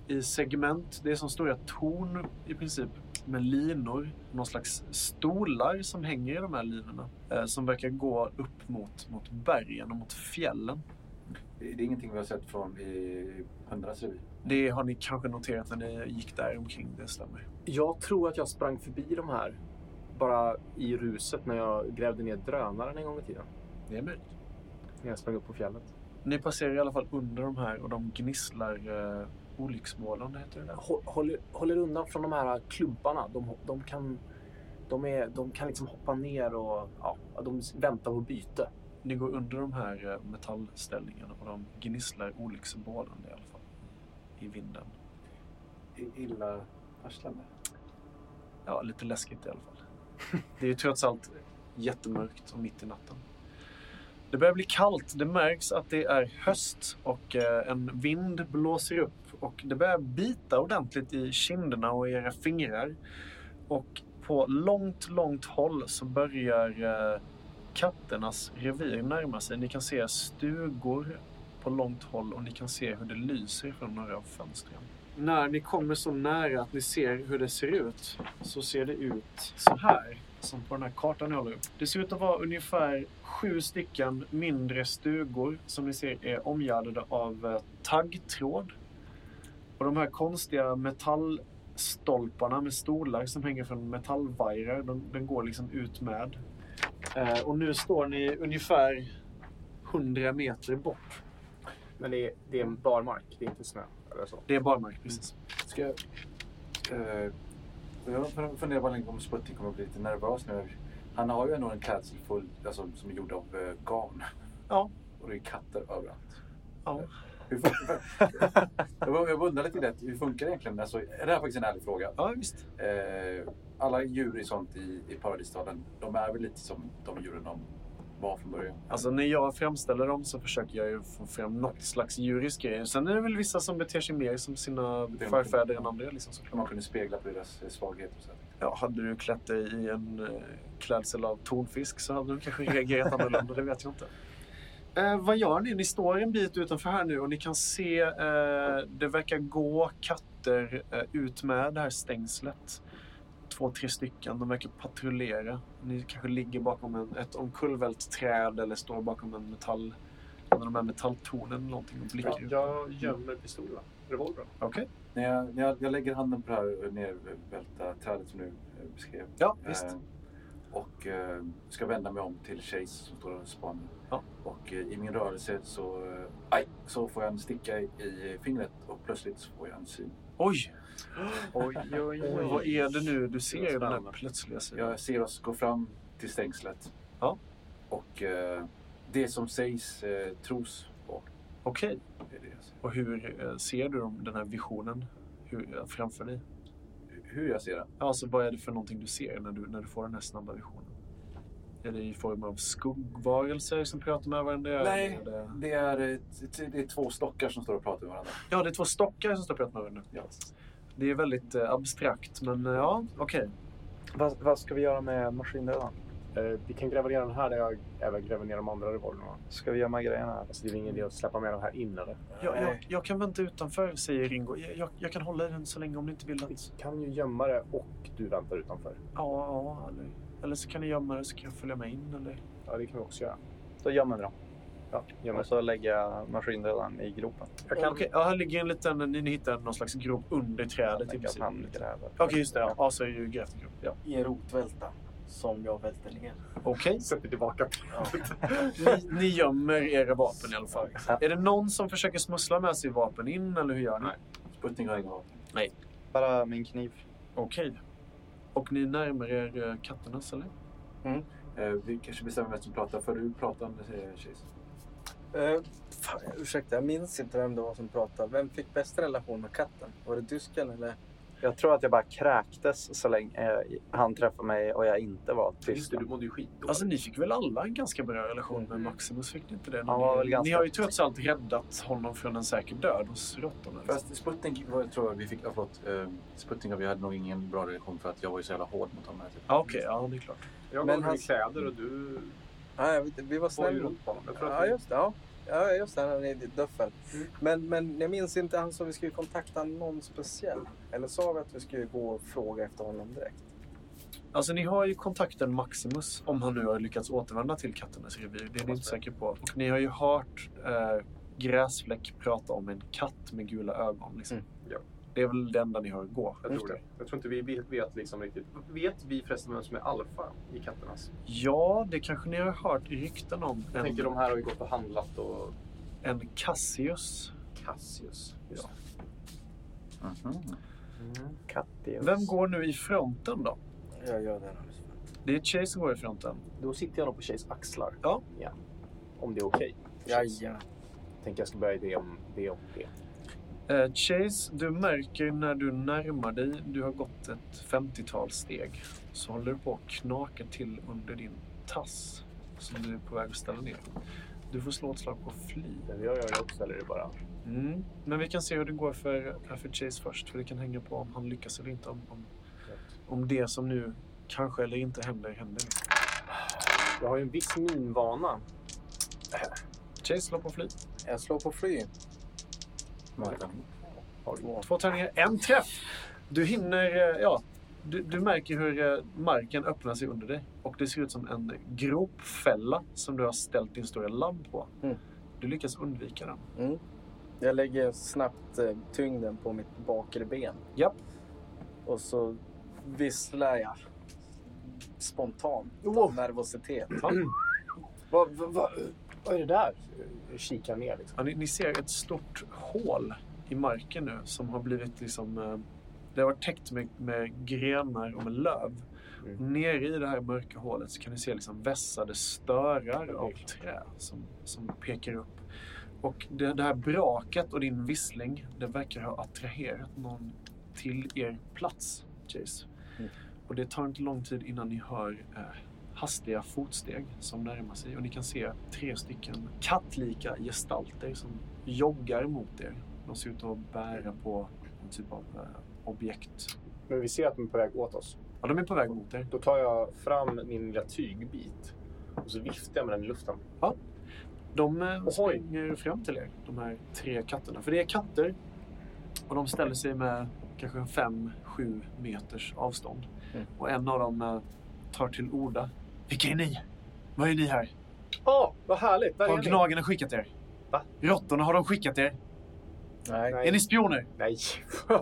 i segment. Det är som stora torn i princip med linor, någon slags stolar som hänger i de här linorna eh, som verkar gå upp mot, mot bergen och mot fjällen.
Det är ingenting vi har sett från i hundrans revir.
Det har ni kanske noterat när ni gick där omkring, det stämmer.
Jag tror att jag sprang
Förbi de här. Bara i ruset när jag grävde ner drönaren en gång i tiden.
Det är möjligt.
När jag sprang upp på fjället.
Ni passerar i alla fall under de här och de gnisslar eh, olycksmålande, heter det där.
Håll, håll, håll er undan från de här klubbarna. De, de, kan, de, är, de kan liksom hoppa ner och ja, de väntar på byte.
Ni går under de här eh, metallställningarna och de gnisslar olycksmålande i alla fall i vinden.
Illa varslande.
Ja, lite läskigt i alla fall. Det är ju trots allt jättemörkt och mitt i natten. Det börjar bli kallt. Det märks att det är höst och eh, en vind blåser upp och det börjar bita ordentligt i kinderna och i era fingrar. Och på långt, långt håll så börjar eh, katternas revir närma sig. Ni kan se stugor på långt håll och ni kan se hur det lyser från några av fönstren. När ni kommer så nära att ni ser hur det ser ut så ser det ut så här. Som på den här kartan jag håller upp. Det ser ut att vara ungefär sju stycken mindre stugor som ni ser är omgärdade av eh, taggtråd. Och de här konstiga metallstolparna med stolar som hänger från metallvajrar, de, den går liksom ut med. Eh, och nu står ni ungefär 100 meter bort.
Men det är, det är en barmark. Det är inte snö. Eller så.
Det är barmark precis.
Ska jag... Eh, jag funderar bara länge om Sputnik kommer att bli lite nervös nu. Han har ju ändå en klädsel full, alltså, som är gjord av eh, garn.
Ja.
Och det är katter överallt. Eh,
Ja.
Hur funkar, jag jag undrar lite i det, hur funkar det egentligen? Alltså, det här är faktiskt en ärlig fråga.
ja, visst.
Eh, alla djur i sånt i, i paradisstaden, de är väl lite som de djuren de var från början?
Alltså när jag framställer dem så försöker jag ju få fram något slags djurisk grej. Sen är det väl vissa som beter sig mer som sina
Det är
förfäder
något.
än andra. Liksom,
Om man
såklart.
kunde spegla på deras eh, svagheter och så. här.
Ja, hade du klätt dig i en eh, klädsel av tonfisk så hade du kanske reagerat annorlunda, det vet jag inte. Eh, vad gör ni? Ni står en bit utanför här nu och ni kan se eh, det verkar gå katter eh, ut med det här stängslet. Två, tre stycken. De verkar patrullera. Ni kanske ligger bakom en, ett omkullvält träd eller står bakom en metall, en av de här metalltornen eller någonting och blickar
Jag,
ut.
jag gömmer pistolen. revolvern.
Okej. När Jag, när jag, jag lägger handen på det här eh, nervälta trädet som du eh, beskrev.
Ja, visst.
Eh, och eh, ska vända mig om till Chase som står och spanar.
Ja.
Och eh, i min rörelse så, eh, aj, så får jag en sticka i, i fingret och plötsligt så får jag en syn.
Oj!
Oj, oj,
Oj, vad är det nu du ser i den här
Spännande.
plötsliga
Mm.
sidan?
Jag ser oss gå fram till stängslet.
Ja.
Och eh, det som sägs eh, tros. Och
Okej,
det är det jag ser.
och hur eh, ser du om den här visionen hur, eh, framför dig?
Hur jag ser det?
Alltså vad är det för någonting du ser när du, när du får den här snabba visionen? Är det i form av skuggvarelser som pratar med varandra?
Nej.
Eller är det-
Det är, eh, t- det är två stockar som står och pratar med varandra.
Ja, det är två stockar som står och pratar med varandra.
Ja.
Det är väldigt eh, abstrakt, men eh, ja, okej.
Vad, vad ska vi göra med maskindödaren?
Eh, vi kan gräva ner den här där jag även gräver ner de andra revolverna.
Ska vi gömma grejerna här?
Alltså, det är ingen idé att släppa med de här in eller?
Jag, jag,
Nej.
jag kan vänta utanför, säger Ringo. Jag, jag, jag kan hålla i den så länge om ni inte vill
Vi
att...
kan ju gömma det och du väntar utanför.
Ja, ja, eller, eller så kan ni gömma det så kan jag följa med in. Eller...
Ja, det kan vi också göra.
Då gömmer vi dem.
Ja, gömma
Och så lägga maskindödaren i gropen.
Jag kan...
Okej, ja, här ligger en liten... Ni, ni hittar någon slags grop under
typ
trädet. i
Tänk att
princip.
han
Okej,
gräver.
just det. Ja, ja så är ju grävt en grop. Ja.
I en rotvälta som jag välter ner.
Okej.
Sätter tillbaka.
Ni, ni gömmer era vapen i alla fall. Är det någon som försöker smussla med sig vapen in, eller hur gör ni?
Sputnik har inga vapen.
Bara min kniv.
Okej. Och ni närmar er eh, katternas, eller?
Eh, vi kanske bestämmer vem som pratar. För du pratar med eh, Chase.
Eh, fan, ursäkta, jag minns inte vem det var som pratade. Vem fick bäst relation med katten? Var det tysken eller?
Jag tror att jag bara kräktes så länge eh, han träffade mig och jag inte var
Just
tyst.
det, du mådde ju skitdåligt.
Alltså ni fick väl alla en ganska bra relation med Maximus? Fick ni inte det?
Han var väl
ni,
ganska-
ni har ju trots allt räddat honom från en säker död hos råttorna. liksom.
Fast Sputnik var, tror jag vi fick... Ja, förlåt. Eh, Sputnik och vi hade nog ingen bra relation för att jag var ju så jävla hård mot honom. här tiden.
Ja, okej. Ja, det är klart.
Jag
Men
gav honom
hans-
kläder och du
Ja, jag vet, vi var
var ju
snälla.
runt på honom. Jag tror
Ja,
att vi...
just det. Ja. Ja, just det. Han är i döffel. Men, men jag minns inte. Han sa vi skulle kontakta någon speciell. Eller sa vi att vi skulle gå och fråga efter honom direkt?
Alltså ni har ju kontakten Maximus om han nu har lyckats återvända till katternas revir. Det är ni inte säker på. Och ni har ju hört eh, Gräsfläck prata om en katt med gula ögon. Liksom.
Mm.
Ja.
Det är väl det enda ni hör gå.
Jag tror det. Jag tror inte vi vet, vet liksom riktigt. Vet vi förresten vem som är alfa i katternas?
Ja, det kanske ni har hört rykten om.
Jag
En,
tänkte de här har ju gått och handlat och
en Cassius.
Cassius.
Ja.
Mhm.
Kattius.
Vem går nu i fronten då?
Jag gör det. nu.
Det är Chase som går i fronten.
Då sitter jag nog på tjejs axlar.
Ja.
Om det är okej.
Jajamän.
Tänker jag ska börja i det om det. Om det.
Eh, Chase, du märker när du närmar dig, du har gått ett 50-tal steg, så håller du på att knaka till under din tass som du är på väg att ställa ner. Du får slå ett slag på fly.
Men jag gör det också eller är det bara...
Mm. Men vi kan se hur det går för, eh, för Chase först, för det kan hänga på om han lyckas eller inte. Om, om, om det som nu kanske eller inte händer, händer.
Jag har ju en viss minvana.
Chase slår på fly.
Jag slår på fly.
Martin.
Två tärningar, en träff! Du hinner, eh, ja, du, du märker hur eh, marken öppnar sig under dig och det ser ut som en gropfälla som du har ställt din stora labb på.
Mm.
Du lyckas undvika den.
Jag lägger snabbt eh, tyngden på mitt bakre ben.
Japp.
Och så visslar jag spontant av nervositet.
Vad va, va, vad är det där? Jag kikar ner liksom.
Ja, ni, ni ser ett stort hål i marken nu som har blivit liksom, eh, det har varit täckt med, med grenar och med löv.
Mm.
Nere i det här mörka hålet så kan ni se liksom vässade störar av
klart.
trä som, som pekar upp. Och det, det här braket och din vissling, det verkar ha attraherat någon till er plats, Chase.
Mm.
Och det tar inte lång tid innan ni hör eh, hastiga fotsteg som närmar sig och ni kan se tre stycken kattlika gestalter som joggar mot er. De ser ut att bära på någon typ av eh, objekt.
Men vi ser att de är på väg åt oss.
Ja, de är på väg mot er.
Då tar jag fram min lilla tygbit och så viftar jag med den i luften.
De eh,
Ohoj.
springer fram till er, de här tre katterna. För det är katter och de ställer sig med kanske en fem, sju meters avstånd.
Mm.
Och en av dem eh, tar till orda. Vilka är ni? Vad är ni här?
Åh, Ah, vad härligt! Där
Har
är ni!
gnagarna skickat er?
Va?
Råttorna, har de skickat er?
Nej,
Nej.
Är ni spioner?
Nej.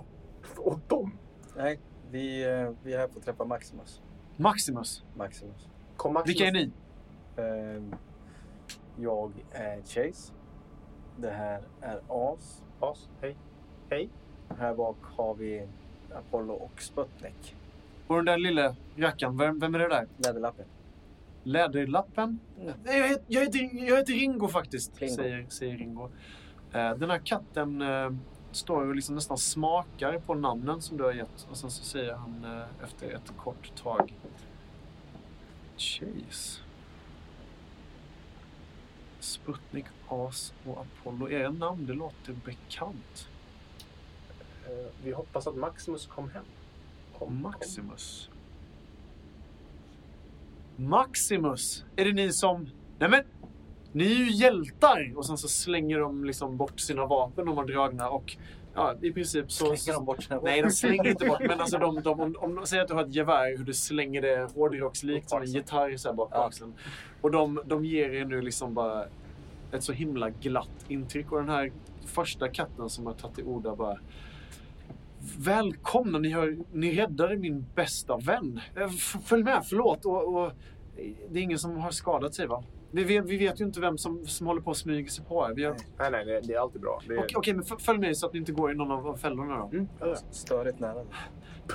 Och dem.
nej. Vi, eh, vi är här för att träffa Maximus.
Maximus?
Maximus.
Kom Maximus.
Vilka är ni?
Ehm, jag är Chase. Det här är As.
As, hej.
Här bak har vi Apollo och Sputnik.
Och den där lilla rackaren, vem, vem är det där?
Läderlappen.
Läderlappen?
Mm.
Nej, jag, heter, jag, heter, jag heter Ringo faktiskt,
Ringo.
Säger, säger Ringo. Eh, den här katten eh, står och liksom nästan smakar på namnen som du har gett. Och sen så säger han eh, efter ett kort tag. Chase. Sputnik, As och Apollo. Era namn, det låter bekant.
Eh, Vi hoppas att Maximus kom hem.
Och
Mm.
Maximus. Maximus! Är det ni som... Nej men! Ni är ju hjältar! Och sen så slänger de liksom bort sina vapen de har dragna och ja, i princip så...
Slänger de bort sina
Nej, de slänger inte bort. Men alltså de, de, om, om de säger att du har ett gevär, hur du slänger det hårdrockslikt som en gitarr så här bak på
Ja.
axeln. Och de, de ger er nu liksom bara ett så himla glatt intryck. Och den här första katten som har tagit till orda bara... Välkomna, ni, har, ni räddade min bästa vän. Eh, f- Följ med, förlåt. Och, och, det är ingen som har skadat sig va? Vi vet, vi vet ju inte vem som, som håller på att smyga sig på er. Vi har,
Nej.
Nej, nej, det- det är alltid bra. Det är...
Okej, okej, men f- följ med så att ni inte går i någon av av fällorna då.
Störigt nära.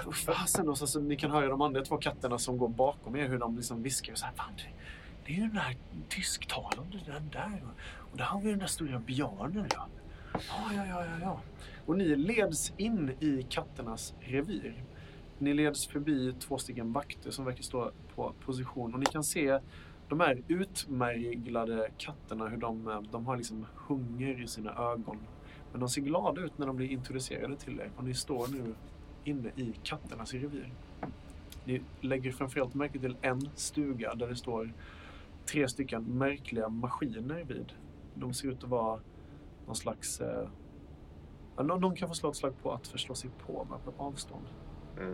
Vad Fasen och sen så ni kan höra de andra två katterna som går bakom er hur de liksom viskar så här. Fan, det, det är ju den här tysktalande, den där. Och där har vi den där stora björnen ja. Ja, ja, ja, ja, ja. Och ni leds in i katternas revir. Ni leds förbi två stycken vakter som verkar stå på position och ni kan se de här utmärglade katterna, hur de, eh, de har liksom hunger i sina ögon. Men de ser glada ut när de blir introducerade till er och ni står nu inne i katternas revir. Ni lägger framförallt märke till en stuga där det står tre stycken märkliga maskiner vid. De ser ut att vara någon slags... Eh, ja, någon, någon kan få slå ett slag på att förstå sig på, men på avstånd.
Mm.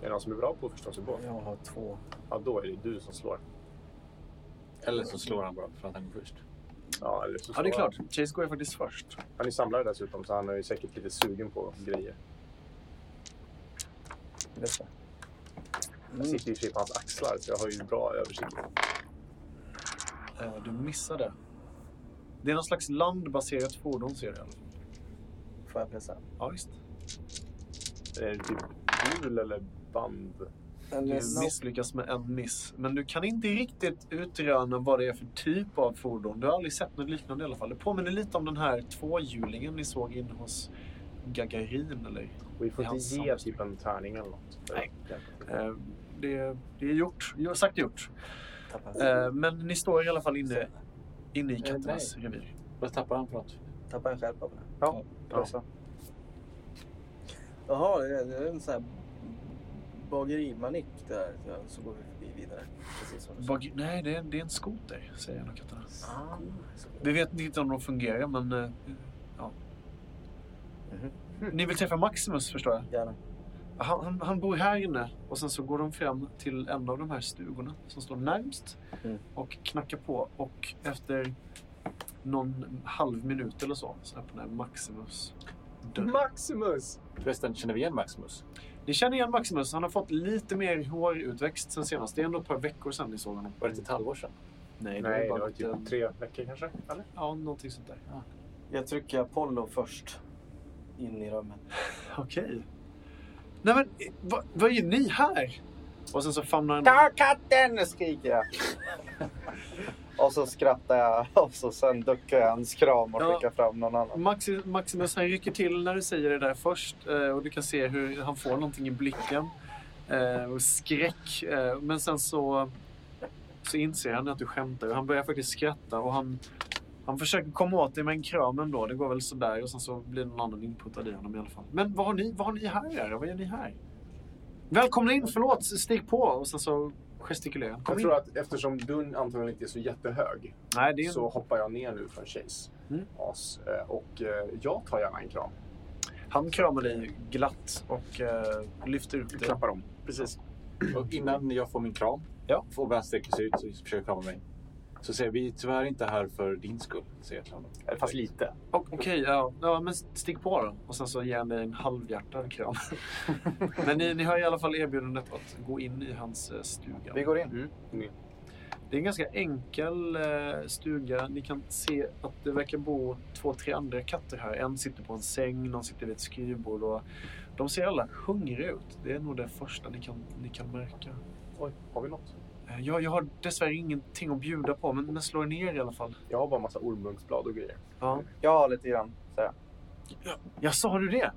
Är det någon som är bra på att förstå sig på?
Jag har två.
Ja, då är det du som slår.
Eller så slår han bara för att han går först.
Ja, eller så
Ja, det är
slår han.
klart. Chase går ju faktiskt först.
Han är samlare dessutom, så han är ju säkert lite sugen på grejer.
Detta.
Jag sitter ju i och för sig på hans axlar, så jag har ju bra översikt.
Eh, du missade. Det är någon slags landbaserat fordon ser jag.
Får jag pressa?
Ja, visst.
Är det typ hjul eller band?
En
Du
miss-
Eh, misslyckas med en miss. Men du kan inte riktigt utröna vad det är för typ av fordon. Du har aldrig sett något liknande i alla fall. Det påminner lite om den här tvåhjulingen ni såg inne hos Gagarin. Eller?
Vi får inte
Jansson.
ge typ en tärning eller något.
Nej. Eh, det, det är gjort. Jo, Sagt gjort.
Tappar,
Eh, men ni står i alla fall inne, inne i katternas
nej.
revir.
Vad tappar han för något?
tappar en skärpa på det.
Pressa.
Jaha, det är- det är en sån här bagerimanik där. Ja, Så går vi förbi vidare. Precis som du sa.
Bag- nej, det är, det är en skoter, säger en av katterna.
Ah,
Vi vet inte om de fungerar, men... Eh, ja. Ni vill träffa Maximus, förstår jag.
Mhm. Gärna.
Han, han, han bor här inne och sen så går de fram till en av de här stugorna som står närmst
Mm.
och knackar på och efter någon halv minut eller så så öppnar Maximus
Mhm.
dörren.
Maximus!
Förresten, känner vi igen Maximus?
Ni känner igen Maximus, han har fått lite mer hårutväxt sen senast. Det är ändå ett par veckor sedan ni såg honom.
Var det inte ett halvår sedan?
Nej, det
Nej, det
var
var
bara
typ
typ...
tre veckor kanske. Eller?
Ja, någonting sånt där.
Jag trycker Apollo först. In i rummet.
Okej. Nej men, eh, vad, vad är ni här? Och sen så famnar han...
Ta katten! skriker jag. och så skrattar jag och så sen duckar jag hans kram och
Ja.
skickar fram någon annan.
Maxi, Maximus han rycker till när du säger det där först eh, och du kan se hur han får någonting i blicken eh, och skräck. Eh, Men sen så, så inser han att du skämtar och han börjar faktiskt skratta och han, han försöker komma åt dig med en kram ändå. Det går väl sådär och sen så blir någon annan inputad i honom i alla fall. Men vad har ni, vad har ni här era? Vad gör ni här? Välkomna in, förlåt, stig på! Och sen så gestikulerar han.
Jag
Kom in.
tror att eftersom dun antagligen inte är så jättehög
Nej, det är...
så hoppar jag ner nu från Chase.
Mm.
As, eh, och eh, jag tar gärna en kram.
Han kramar dig glatt och eh, lyfter upp dig.
Klappar om. Precis.
Och innan jag får min kram
Ja.
får han sträcker sig ut och försöker krama mig. Så säger vi tyvärr inte här för din skull, säger Clownen.
Eh, Fast lite.
Okej, ja. ja. Men stig på då. Och sen så ger han dig en halvhjärtad kram. men ni, ni har i alla fall erbjudandet att gå in i hans eh, stuga.
Vi går in. Mm.
Det är en ganska enkel eh, stuga. Ni kan se att det verkar bo två, tre andra katter här. En sitter på en säng, någon sitter vid ett skrivbord. Och de ser alla hungriga ut. Det är nog det första ni kan, ni kan märka.
Oj, har vi något?
Eh, Jag, jag har dessvärre ingenting att bjuda på, men, men slår ner i alla fall.
Jag har bara massa ormmunksblad och grejer.
Ja.
Jag har lite grann. Så, här.
ja, sa har du det?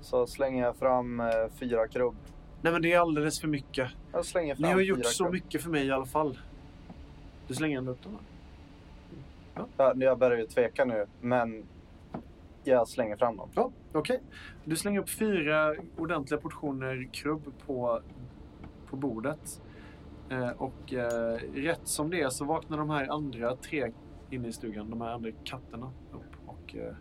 så slänger jag fram eh, fyra krubb.
Nej, men det är alldeles för mycket.
Jag slänger fram
Ni har gjort
fyra
så
krubb.
mycket för mig i alla fall. Du slänger ändå upp dem, va?
Ja, jag börjar ju tveka nu, men jag slänger fram dem.
Ja, okej. Du slänger upp fyra ordentliga portioner krubb på, på bordet. Eh, och eh, rätt som det är så vaknar de här andra tre inne i stugan, de här andra katterna upp. Och eh,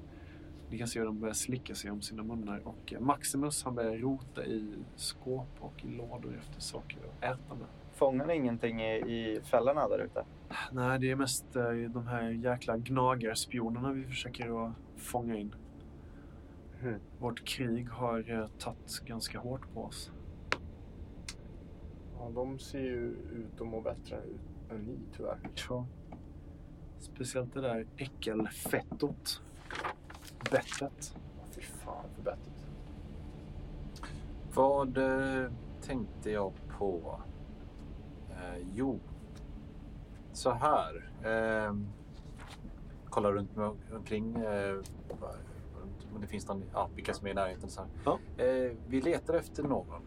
ni kan se hur de börjar slicka sig om sina munnar. Och eh, Maximus han börjar rota i skåp och i lådor efter saker att äta med.
Fångar ni ingenting i, i fällorna där ute?
Nej, det är mest eh, de här jäkla gnagarspionerna vi försöker att fånga in.
Mhm.
Vårt krig har eh, tagit ganska hårt på oss.
Ja, de ser ju ut att må bättre ut än ni tyvärr.
Ja. Speciellt det där äckelfettot. Bettet.
Ja, Fy fan för bettet.
Vad eh, tänkte jag på? Eh, jo, så här. Eh, kolla runt med, omkring eh, runt om det finns någon, ja, vilka som är i närheten. Så här.
Ja.
Eh, vi letar efter någon.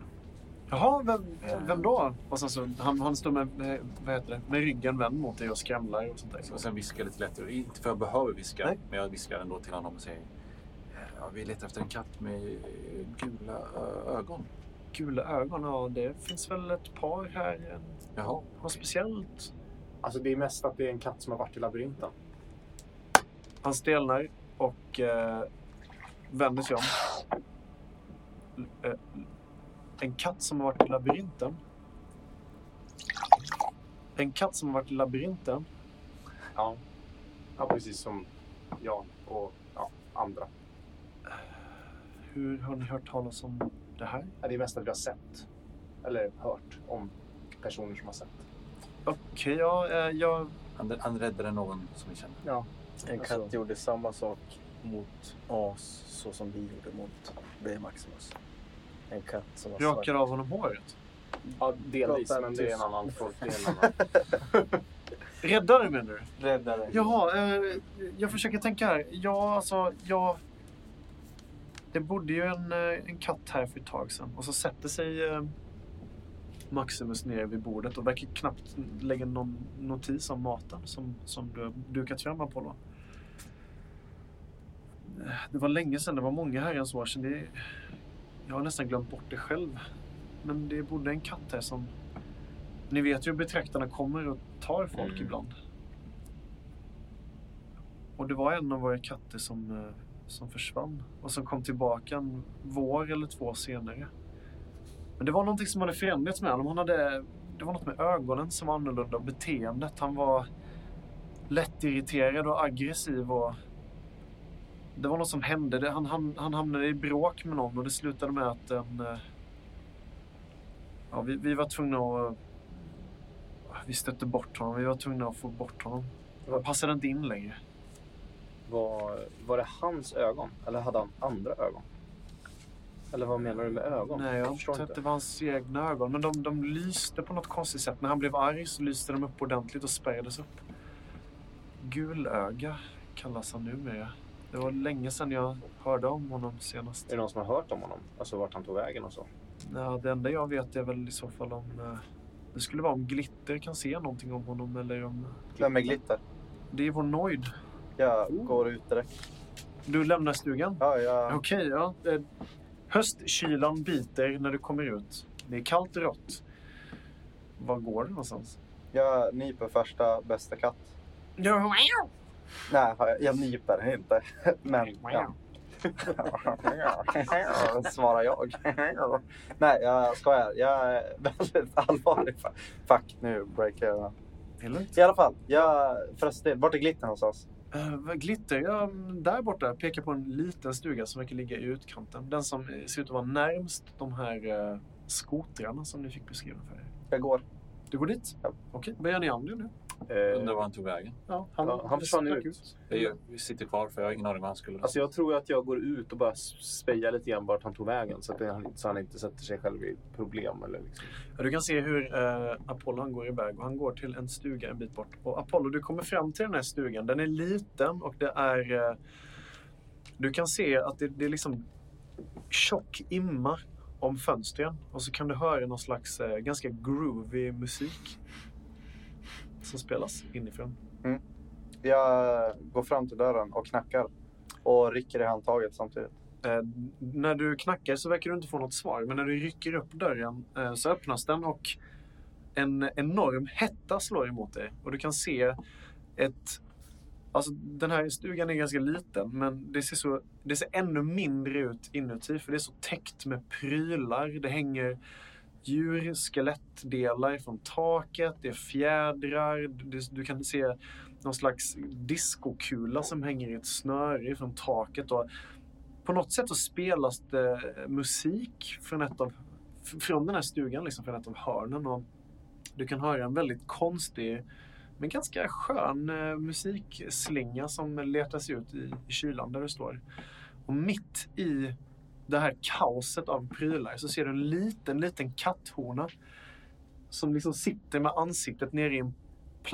Jaha, vem, vem då? Och sen så, han, han står med, med, vad heter det, med ryggen vänd mot dig och skramlar och sånt där.
Och sen viskar jag lite lätt. Inte för jag behöver viska,
Nej.
men jag viskar ändå till honom och säger eh, ja, vi letar efter en katt med eh, gula ö- ögon.
Gula ögon, ja det finns väl ett par här. En-
Jaha.
Något speciellt?
Alltså det är mest att det är en katt som har varit i labyrinten.
Han stelnar och eh, vänder sig om. L- eh, En katt som har varit i labyrinten. En katt som har varit i labyrinten.
Ja. Ja, precis som jag och ja, andra.
Hur har ni hört talas om det här?
Ja, Det är mest att vi har sett. Eller hört om personer som har sett.
Okej, ja, eh, jag...
Han, han räddade någon som vi känner.
En katt
Alltså-
gjorde samma sak mot as så som vi gjorde mot det Maximus. En katt som var svart.
rakar av honom håret.
Ja, delvis.
Prata
Men det är en
tyst.
annan fråga. Det är en annan.
Räddare menar du?
Räddade.
Jaha, eh, jag försöker tänka här. Ja, alltså, jag... Det bodde ju en, eh, en katt här för ett tag sedan och så sätter sig eh, Maximus ner vid bordet och verkar knappt lägga någon notis om maten som, som du har dukat fram, Apollo. Eh, Det var länge sedan, det var många herrans år sedan. Det, jag har nästan glömt bort det själv. Men det bodde en katt här som... Ni vet ju hur betraktarna kommer och tar folk
Mm.
ibland. Och det var en av våra katter som, eh, som försvann och som kom tillbaka en vår eller två senare. Men det var någonting som hade förändrats med honom. Han hade, det var något med ögonen som var annorlunda och beteendet. Han var lättirriterad och aggressiv. Och det var något som hände. Det- Han, han, han hamnade i bråk med någon och det slutade med att en, eh, ja, vi, vi var tvungna att... eh, Vi stötte bort honom. Vi var tvungna att få bort honom. Han passade inte in längre.
Var, var det hans ögon? Eller hade han andra ögon? Eller vad menar du med ögon?
Nej, jag tror
förstår
att
inte.
det var hans egna ögon. Men de, de lyste på något konstigt sätt. När han blev arg så lyste de upp ordentligt och spärrades upp. Gulöga kallas han numera. Det var länge sedan jag hörde om honom senast.
Är det någon som har hört om honom? Alltså vart han tog vägen och så?
Ja, det enda jag vet är väl i så fall om... eh, Det skulle vara om Glitter kan se någonting om honom eller om...
Vem är glitter?
Det är vår Noid.
Jag går ut direkt.
Du lämnar stugan?
Oh. Ja, jag...
Okej, ja. Eh, Höstkylan biter när du kommer ut. Det är kallt och rått. Var går du någonstans?
Jag nyper första bästa katt. Nej, har jag- jag nyper inte. Men, ja. Svarar jag. Nej, jag skojar. Jag är väldigt allvarlig. Fuck, nu breakar jag.
Det är lugnt.
I alla fall, jag... Förresten, vart är glitter någonstans?
Eh, vad glitter, ja, där borta. Pekar på en liten stuga som verkar ligga i utkanten. Den som eh, ser ut att vara närmst de här eh, skotrarna som ni fick beskriva för er.
Jag går.
Du går dit?
Ja.
Okej, vad gör ni Andy nu?
Undrar
Eh,
var han tog vägen.
Ja,
ja, han försvann
stack
ut.
Jag gör- vi sitter kvar för jag har ingen aning vad han skulle...
Alltså jag tror att jag går ut och bara s- spejar lite grann vart han tog vägen så att det, så han inte sätter sig själv i problem. Eller liksom.
Ja, du kan se hur eh, Apollo han går iväg och han går till en stuga en bit bort. Och Apollo, du kommer fram till den här stugan. Den är liten och det är... Eh, du kan se att det, det är liksom tjock imma om fönstren. Och så kan du höra någon slags eh, ganska groovy musik som spelas inifrån.
Jag går fram till dörren och knackar. Och rycker i handtaget samtidigt.
Eh, när du knackar så verkar du inte få något svar, men när du rycker upp dörren eh, så öppnas den och en enorm hetta slår emot dig. Och du kan se ett... Alltså den här stugan är ganska liten, men det ser, så, det ser ännu mindre ut inuti för det är så täckt med prylar. Det hänger djur, skelettdelar från taket, det är fjädrar, du, du kan se någon slags diskokula som hänger i ett snöre från taket. Och på något sätt så spelas det musik från, ett av, f- från den här stugan, liksom, från ett av hörnen. Och du kan höra en väldigt konstig, men ganska skön eh, musikslinga som letar sig ut i, i kylan där du står. Och mitt i det här kaoset av prylar så ser du en liten, liten katthona som liksom sitter med ansiktet nere i en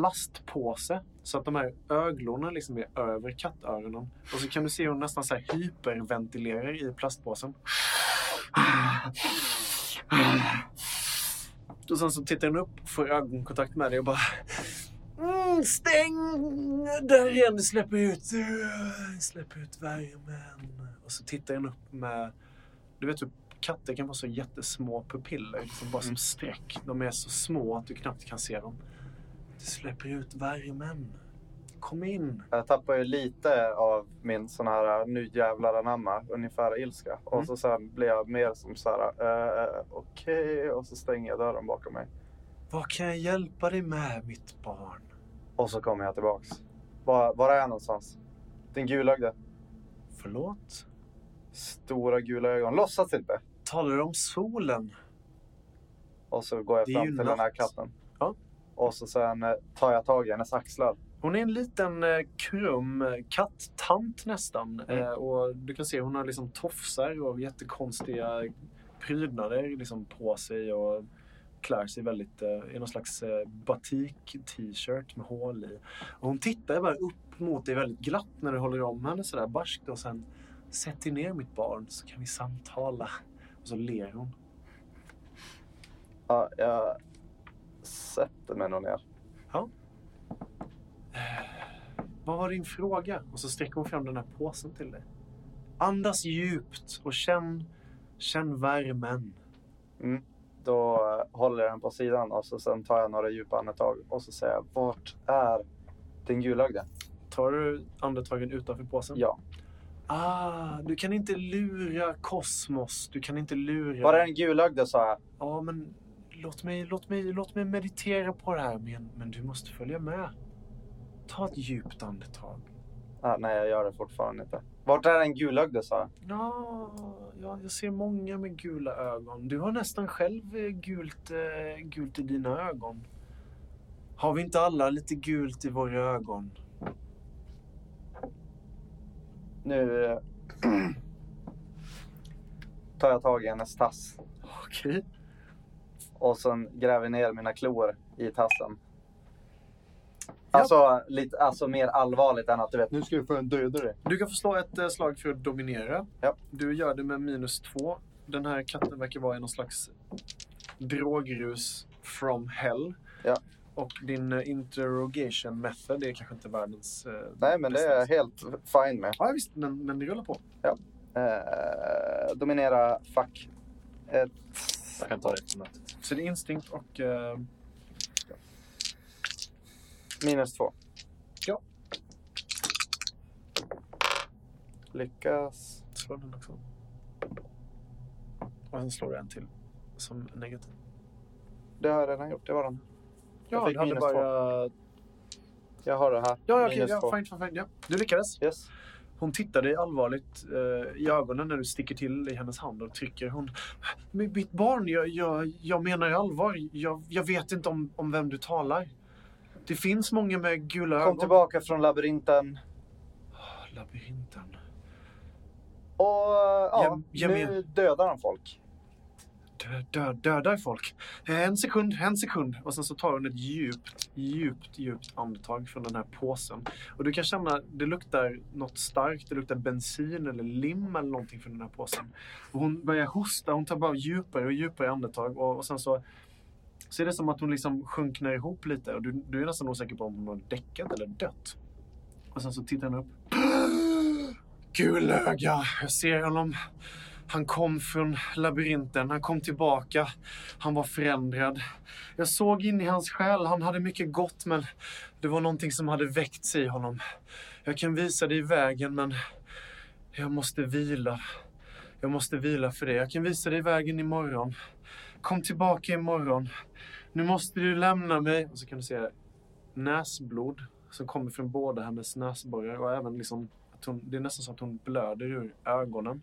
plastpåse så att de här öglorna liksom är över kattöronen. Och så kan du se hur hon nästan så här hyperventilerar i plastpåsen. Och sen så tittar hon upp, får ögonkontakt med dig och bara... Mm, stäng dörren, igen, släpp ut, släpp ut värmen. Och så tittar hon upp med... Du vet hur katter kan vara så jättesmå pupiller, liksom bara som streck. De är så små att du knappt kan se dem. Du släpper ut värmen. Kom in.
Jag tappar ju lite av min sån här nu jävlar anamma ungefär ilska.
Mm.
Och så sen blir jag mer som så här eh, okej och så stänger jag dörren bakom mig.
Vad kan jag hjälpa dig med, mitt barn?
Och så kommer jag tillbaks. Var, var är jag någonstans? Den gulögde.
Förlåt?
Stora gula ögon. Låtsas inte.
Talar du om solen?
Och så går jag
Det är
fram
ju
till den här
natt.
katten.
Ja.
Och så sen eh, tar jag tag i hennes axlar.
Hon är en liten eh, krum eh, kattant nästan. Eh, och du kan se hon har liksom tofsar och jättekonstiga prydnader liksom på sig och klär sig väldigt eh, i någon slags eh, batik-t-shirt med hål i. Och hon tittar bara upp mot dig väldigt glatt när du håller om henne sådär barskt och sen Sätt dig ner mitt barn så kan vi samtala. Och så ler hon.
Ja, jag sätter mig nog ner.
Vad var din fråga? Och så sträcker hon fram den här påsen till dig. Andas djupt och känn, känn värmen.
Då eh, håller jag den på sidan och så sen tar jag några djupa andetag. Och så säger jag, vart är den gulögde?
Tar du andetagen utanför påsen?
Ja.
Ah, du kan inte lura kosmos. Du kan inte lura...
Var är den gulögde sa jag.
Ja, men låt mig, låt mig, låt mig meditera på det här. Men, men du måste följa med. Ta ett djupt andetag.
Ah, nej, jag gör det fortfarande inte. Vart är den gulögde sa jag.
Ja, ja, jag ser många med gula ögon. Du har nästan själv eh, gult, eh, gult i dina ögon. Har vi inte alla lite gult i våra ögon?
Nu eh, tar jag tag i hennes tass
Okej.
och sen gräver ner mina klor i tassen. Alltså, lite, alltså mer allvarligt än att du vet, nu ska vi få en döda dig.
Du kan förslå ett eh, slag för att dominera.
Ja.
Du gör det med minus två. Den här katten verkar vara i någon slags drogrus from hell.
Ja.
Och din eh, interrogation method är kanske inte världens... eh,
Nej, men det är jag helt fine med.
Ja, visst, men, men det rullar på.
Eh, dominera, fuck. Ett,
Jag kan ta det efter mötet.
Så det är instinkt och... eh,
minus två.
Ja.
Lyckas.
Slå den också. Och sen slår du en till som negativ.
Det har jag redan gjort, det var den. Jag fick
du hade
minus
bara-
Jag har det här.
Ja, ja, okej.
Minus
Ja,
två.
fine, fine, fine, ja. Du lyckades.
Yes.
Hon tittar dig allvarligt eh, i ögonen när du sticker till i hennes hand och trycker. Hon, "Men mitt barn, jag, jag, jag menar ju allvar. Jag, jag vet inte om, om vem du talar. Det finns många med gula ögon.
Kom tillbaka från labyrinten.
Ah, Labyrinten.
Och ja,
Gem- gemen-
nu dödar han folk.
Dö, dö, dödar folk. Eh, En sekund, en sekund. Och sen så tar hon ett djupt, djupt, djupt andetag från den här påsen. Och du kan känna, det luktar något starkt. Det luktar bensin eller lim eller någonting från den här påsen. Och hon börjar hosta. Hon tar bara djupare och djupare andetag. Och, och sen så ser det som att hon liksom sjunknar ihop lite. Och du, du är nästan osäker på om hon har däckat eller dött. Och sen så tittar hon upp. Gulöga, jag ser honom. Han kom från labyrinten, han kom tillbaka. Han var förändrad. Jag såg in i hans själ, han hade mycket gott men det var någonting som hade väckts i honom. Jag kan visa dig vägen men jag måste vila. Jag måste vila för det. Jag kan visa dig vägen imorgon. Kom tillbaka imorgon. Nu måste du lämna mig. Och så kan du se näsblod som kommer från båda hennes näsborrar och även liksom att hon, det är nästan så att hon blöder ur ögonen.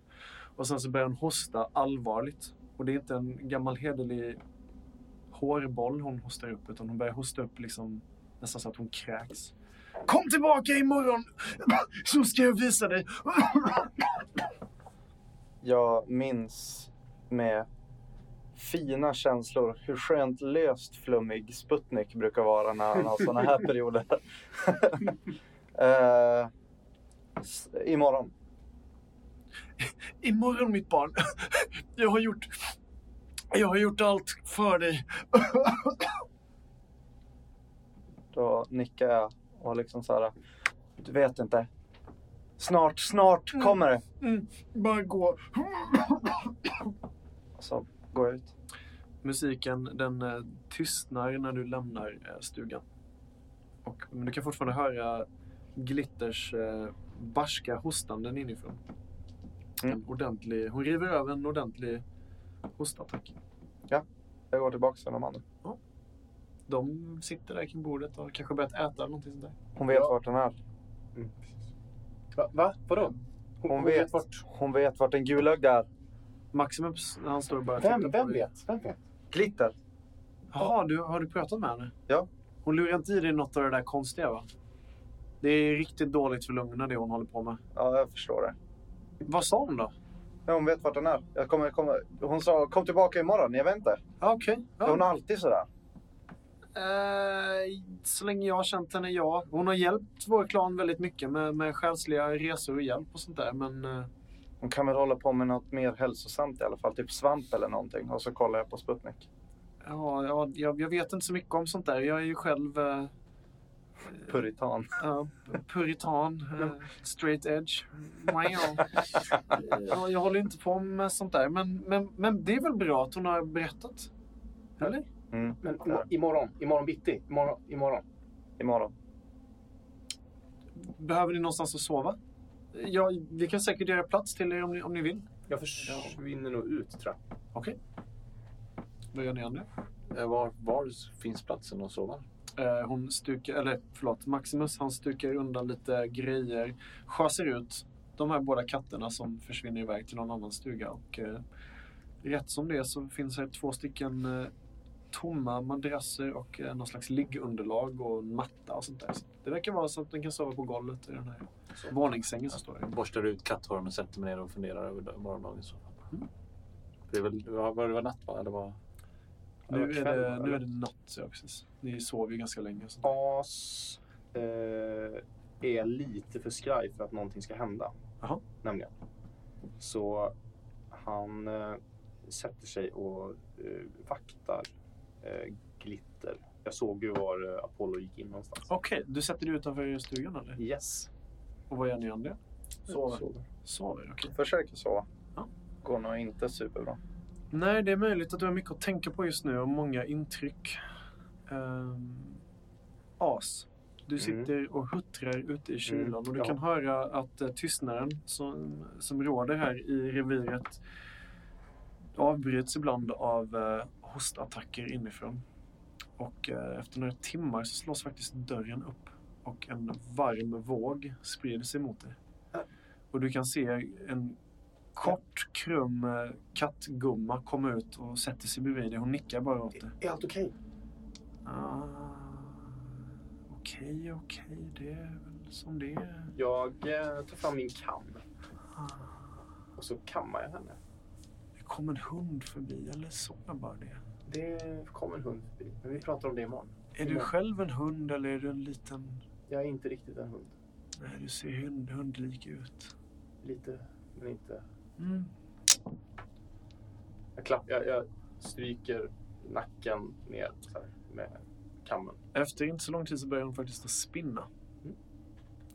Och sen så börjar hon hosta allvarligt. Och det är inte en gammal hederlig hårboll hon hostar upp utan hon börjar hosta upp liksom nästan så att hon kräks. Kom tillbaka imorgon så ska jag visa dig.
Jag minns med fina känslor hur skönt löst flummig Sputnik brukar vara när han har såna här perioder. uh, imorgon.
Imorgon mitt barn. Jag har gjort, jag har gjort allt för dig.
Då nickar jag och liksom så här. Du vet inte. Snart, snart kommer det.
Bara gå.
Och så går jag ut.
Musiken den eh, tystnar när du lämnar eh, stugan. Och, men du kan fortfarande höra Glitters eh, barska hostanden inifrån.
Mm.
En ordentlig, hon river över en ordentlig hostattack.
Jag går tillbaka till de andra.
De sitter där kring bordet och har kanske börjat äta eller någonting sånt där.
Hon vet
Ja.
vart den är.
Va? Va? Vadå?
Hon, vet,
vart.
hon vet vart den gulögd är.
Maximum, han står och bara
Vem, vem vet? Vem vet?
Glitter.
Jaha, du, har du pratat med henne?
Ja.
Hon lurar inte i dig något av det där konstiga va? Det är riktigt dåligt för lungorna det hon håller på med.
Ja, jag förstår det.
Vad sa hon då?
Ja, hon vet vart den är. Jag kommer, kommer. Hon sa kom tillbaka imorgon. Jag vet inte.
Ja, Okej. Ja.
Hon är alltid sådär.
Eh, så länge jag har känt henne, ja. Hon har hjälpt vår klan väldigt mycket med, med själsliga resor och hjälp och sånt där. Men eh,
Hon kan väl hålla på med något mer hälsosamt i alla fall. Typ svamp eller någonting. Och så kollar jag på Sputnik.
ja, ja, jag, jag vet inte så mycket om sånt där. Jag är ju själv eh,
Puritan.
ja, puritan, eh, straight edge. Wow. Ja, jag håller inte på med sånt där. Men, men, men det är väl bra att hon har berättat? Eller?
Mm.
Men im- imorgon, imorgon bitti, imorgon, imorgon.
Imorgon.
Behöver ni någonstans att sova? Ja, vi kan säkert göra plats till er om ni, om ni vill.
Jag försvinner nog ut tror jag.
Vad gör ni andra?
Eh, Var, var finns platsen att sova?
Eh, Hon stukar, eller förlåt, Maximus han stukar undan lite grejer, sjöser ut de här båda katterna som försvinner iväg till någon annan stuga och eh, rätt som det är så finns här två stycken eh, tomma madrasser och eh, någon slags liggunderlag och en matta och sånt där. Så det verkar vara så att den kan sova på golvet i den här våningssängen som står här.
Jag borstar ut katthåren och sätter mig ner och funderar över dag- morgondagens sova. Det är väl, var, var det var natt va? Eller var...
Nu
var
är
kväll,
det,
eller?
nu är det natt, ja precis. Ni sover ju ganska länge. och sånt.
As eh, är lite för skraj för att någonting ska hända.
Jaha.
Nämligen. Så han eh, sätter sig och eh, vaktar eh, glitter. Jag såg ju var eh, Apollo gick in någonstans.
Okej, du sätter dig utanför stugan eller?
Yes.
Och vad gör ni andra?
Sover.
Sover, okej.
Försöker sova.
Ja.
Går nog inte superbra.
Nej, det är möjligt att du har mycket att tänka på just nu och många intryck. Ehm, as, du
Mm.
sitter och huttrar ute i kylan
Mm,
och du
ja.
kan höra att eh, tystnaden som, som råder här i reviret avbryts ibland av eh, hostattacker inifrån. Och eh, efter några timmar så slås faktiskt dörren upp och en varm våg sprider sig mot dig. Och du kan se en kort, krum eh, kattgumma komma ut och sätter sig bredvid dig. Hon nickar bara åt dig.
Är allt okej?
Ah, Okej, okej, det är väl som det är.
Jag eh, tar fram min kam
Ah,
och så kammar jag henne.
Det kom en hund förbi, eller såg jag bara det?
Det kom en hund förbi, men vi pratar om det imorgon.
Är du
Nej.
själv en hund eller är du en liten...
Jag är inte riktigt en hund.
Nej, du ser hund, hundlik ut.
Lite, men inte.
Mm.
Jag, klapp, jag, jag stryker nacken ner så här, med kammen.
Efter inte så lång tid så börjar hon faktiskt att spinna.
Mm.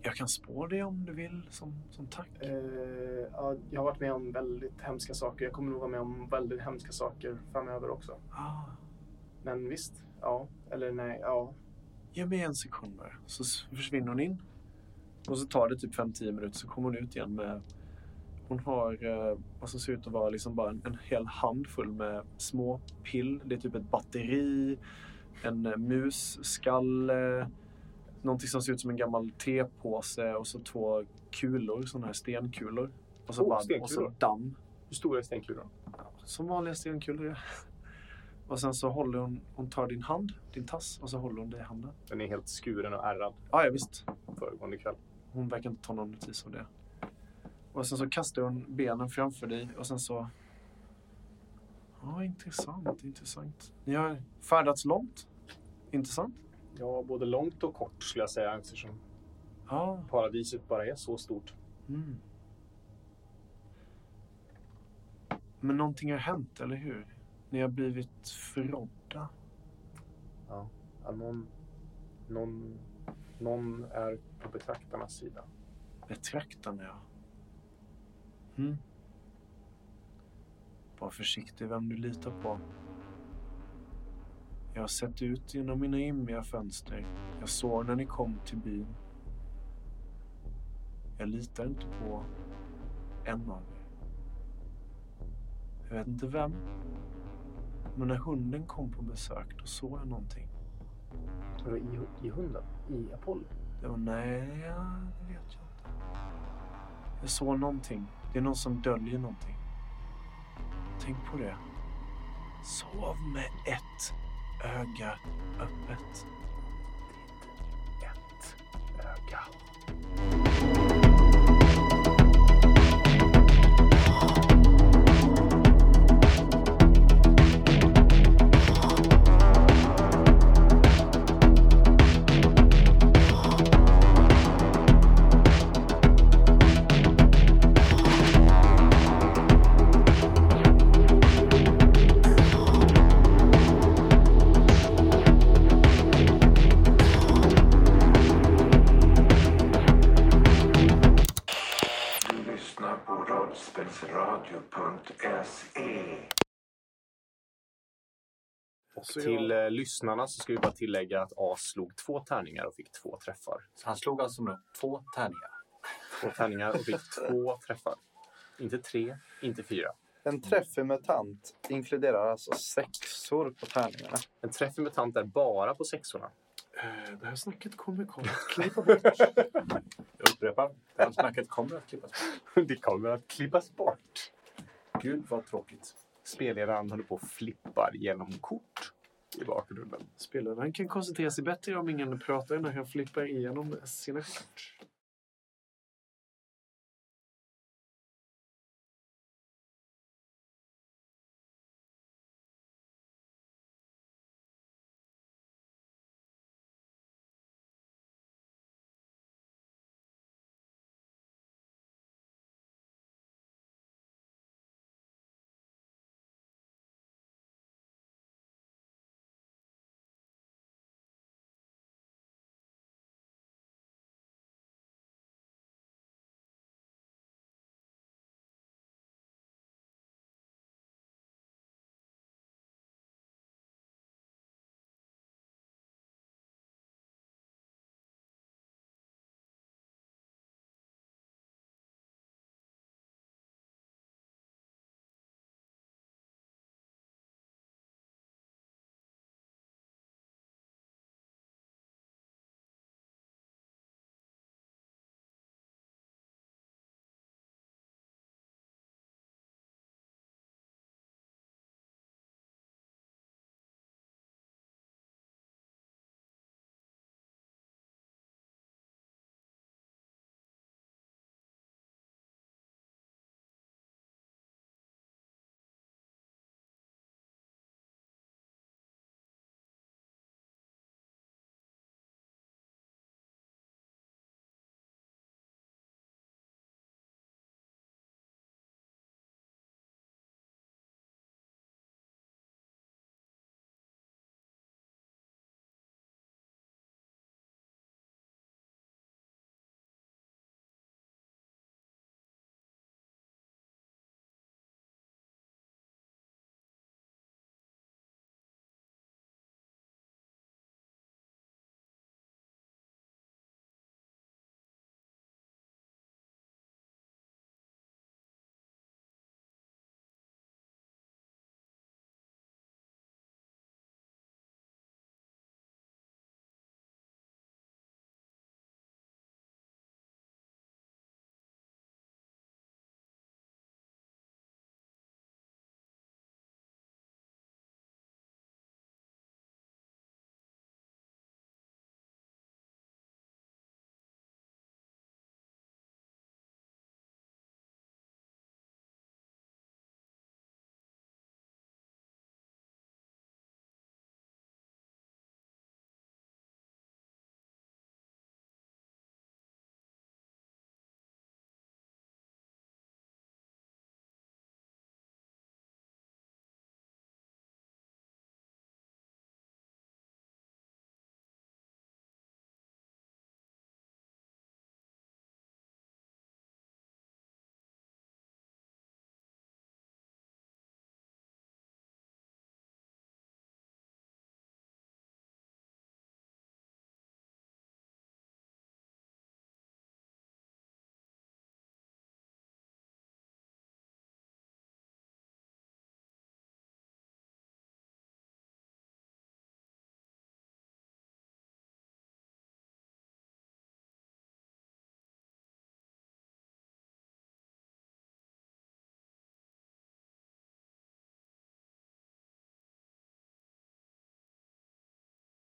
Jag kan spå dig om du vill, som, som tack.
Eh, ja, jag har varit med om väldigt hemska saker. Jag kommer nog vara med om väldigt hemska saker framöver också.
Ah.
Men visst, ja. Eller nej, ja.
Ge mig en sekund bara. Så s- försvinner hon in. Och så tar det typ 5-10 minuter så kommer hon ut igen med... Hon har eh, vad som ser ut att vara liksom bara en, en hel hand full med små pill. Det är typ ett batteri, en eh, musskalle, någonting som ser ut som en gammal tepåse och så två kulor, sådana här stenkulor. Och så,
Oh,
bara, och så
stenkulor.
damm.
Hur stora är stenkulorna?
Som vanliga stenkulor. ja. Och sen så håller hon, hon tar din hand, din tass, och så håller hon dig i handen.
Den är helt skuren och ärrad
Ah, ja, visst.
föregående kväll.
Hon verkar inte ta någon notis om det. Och sen så kastar hon benen framför dig och sen så... Ja, intressant, intressant. Ni har färdats långt. Intressant.
Ja, både långt och kort skulle jag säga eftersom
Ja.
paradiset bara är så stort.
Mm. Men någonting har hänt, eller hur? Ni har blivit förrådda.
Ja, någon, någon, någon är på betraktarnas sida.
Betraktarna, ja. Mm. Var försiktig vem du litar på. Jag har sett ut genom mina immiga fönster. Jag såg när ni kom till byn. Jag litar inte på en av er. Jag vet inte vem. Men när hunden kom på besök, då såg jag någonting.
Vadå, I, I hunden? I Apollo?
Det var nej, ja, det vet jag inte. Jag såg någonting. Det är någon som döljer någonting. Tänk på det. Sov med ett öga öppet.
Öga.
Du lyssnar på rollspelsradio.se
Och till eh, lyssnarna så ska vi bara tillägga att A slog två tärningar och fick två träffar.
Så han slog alltså med två tärningar.
Två tärningar och fick två träffar. Inte tre, inte fyra.
En träff i mutant inkluderar alltså sexor på tärningarna.
En träff med tant är bara på sexorna.
Det här snacket kommer komma.
Jag upprepar. Det här snacket kommer att klippas bort.
Det kommer att klippas bort.
Gud vad tråkigt.
Spelledaren håller på och flippar genom kort i bakgrunden.
Spelaren kan koncentrera sig bättre om ingen pratar när han flippar igenom sina kort.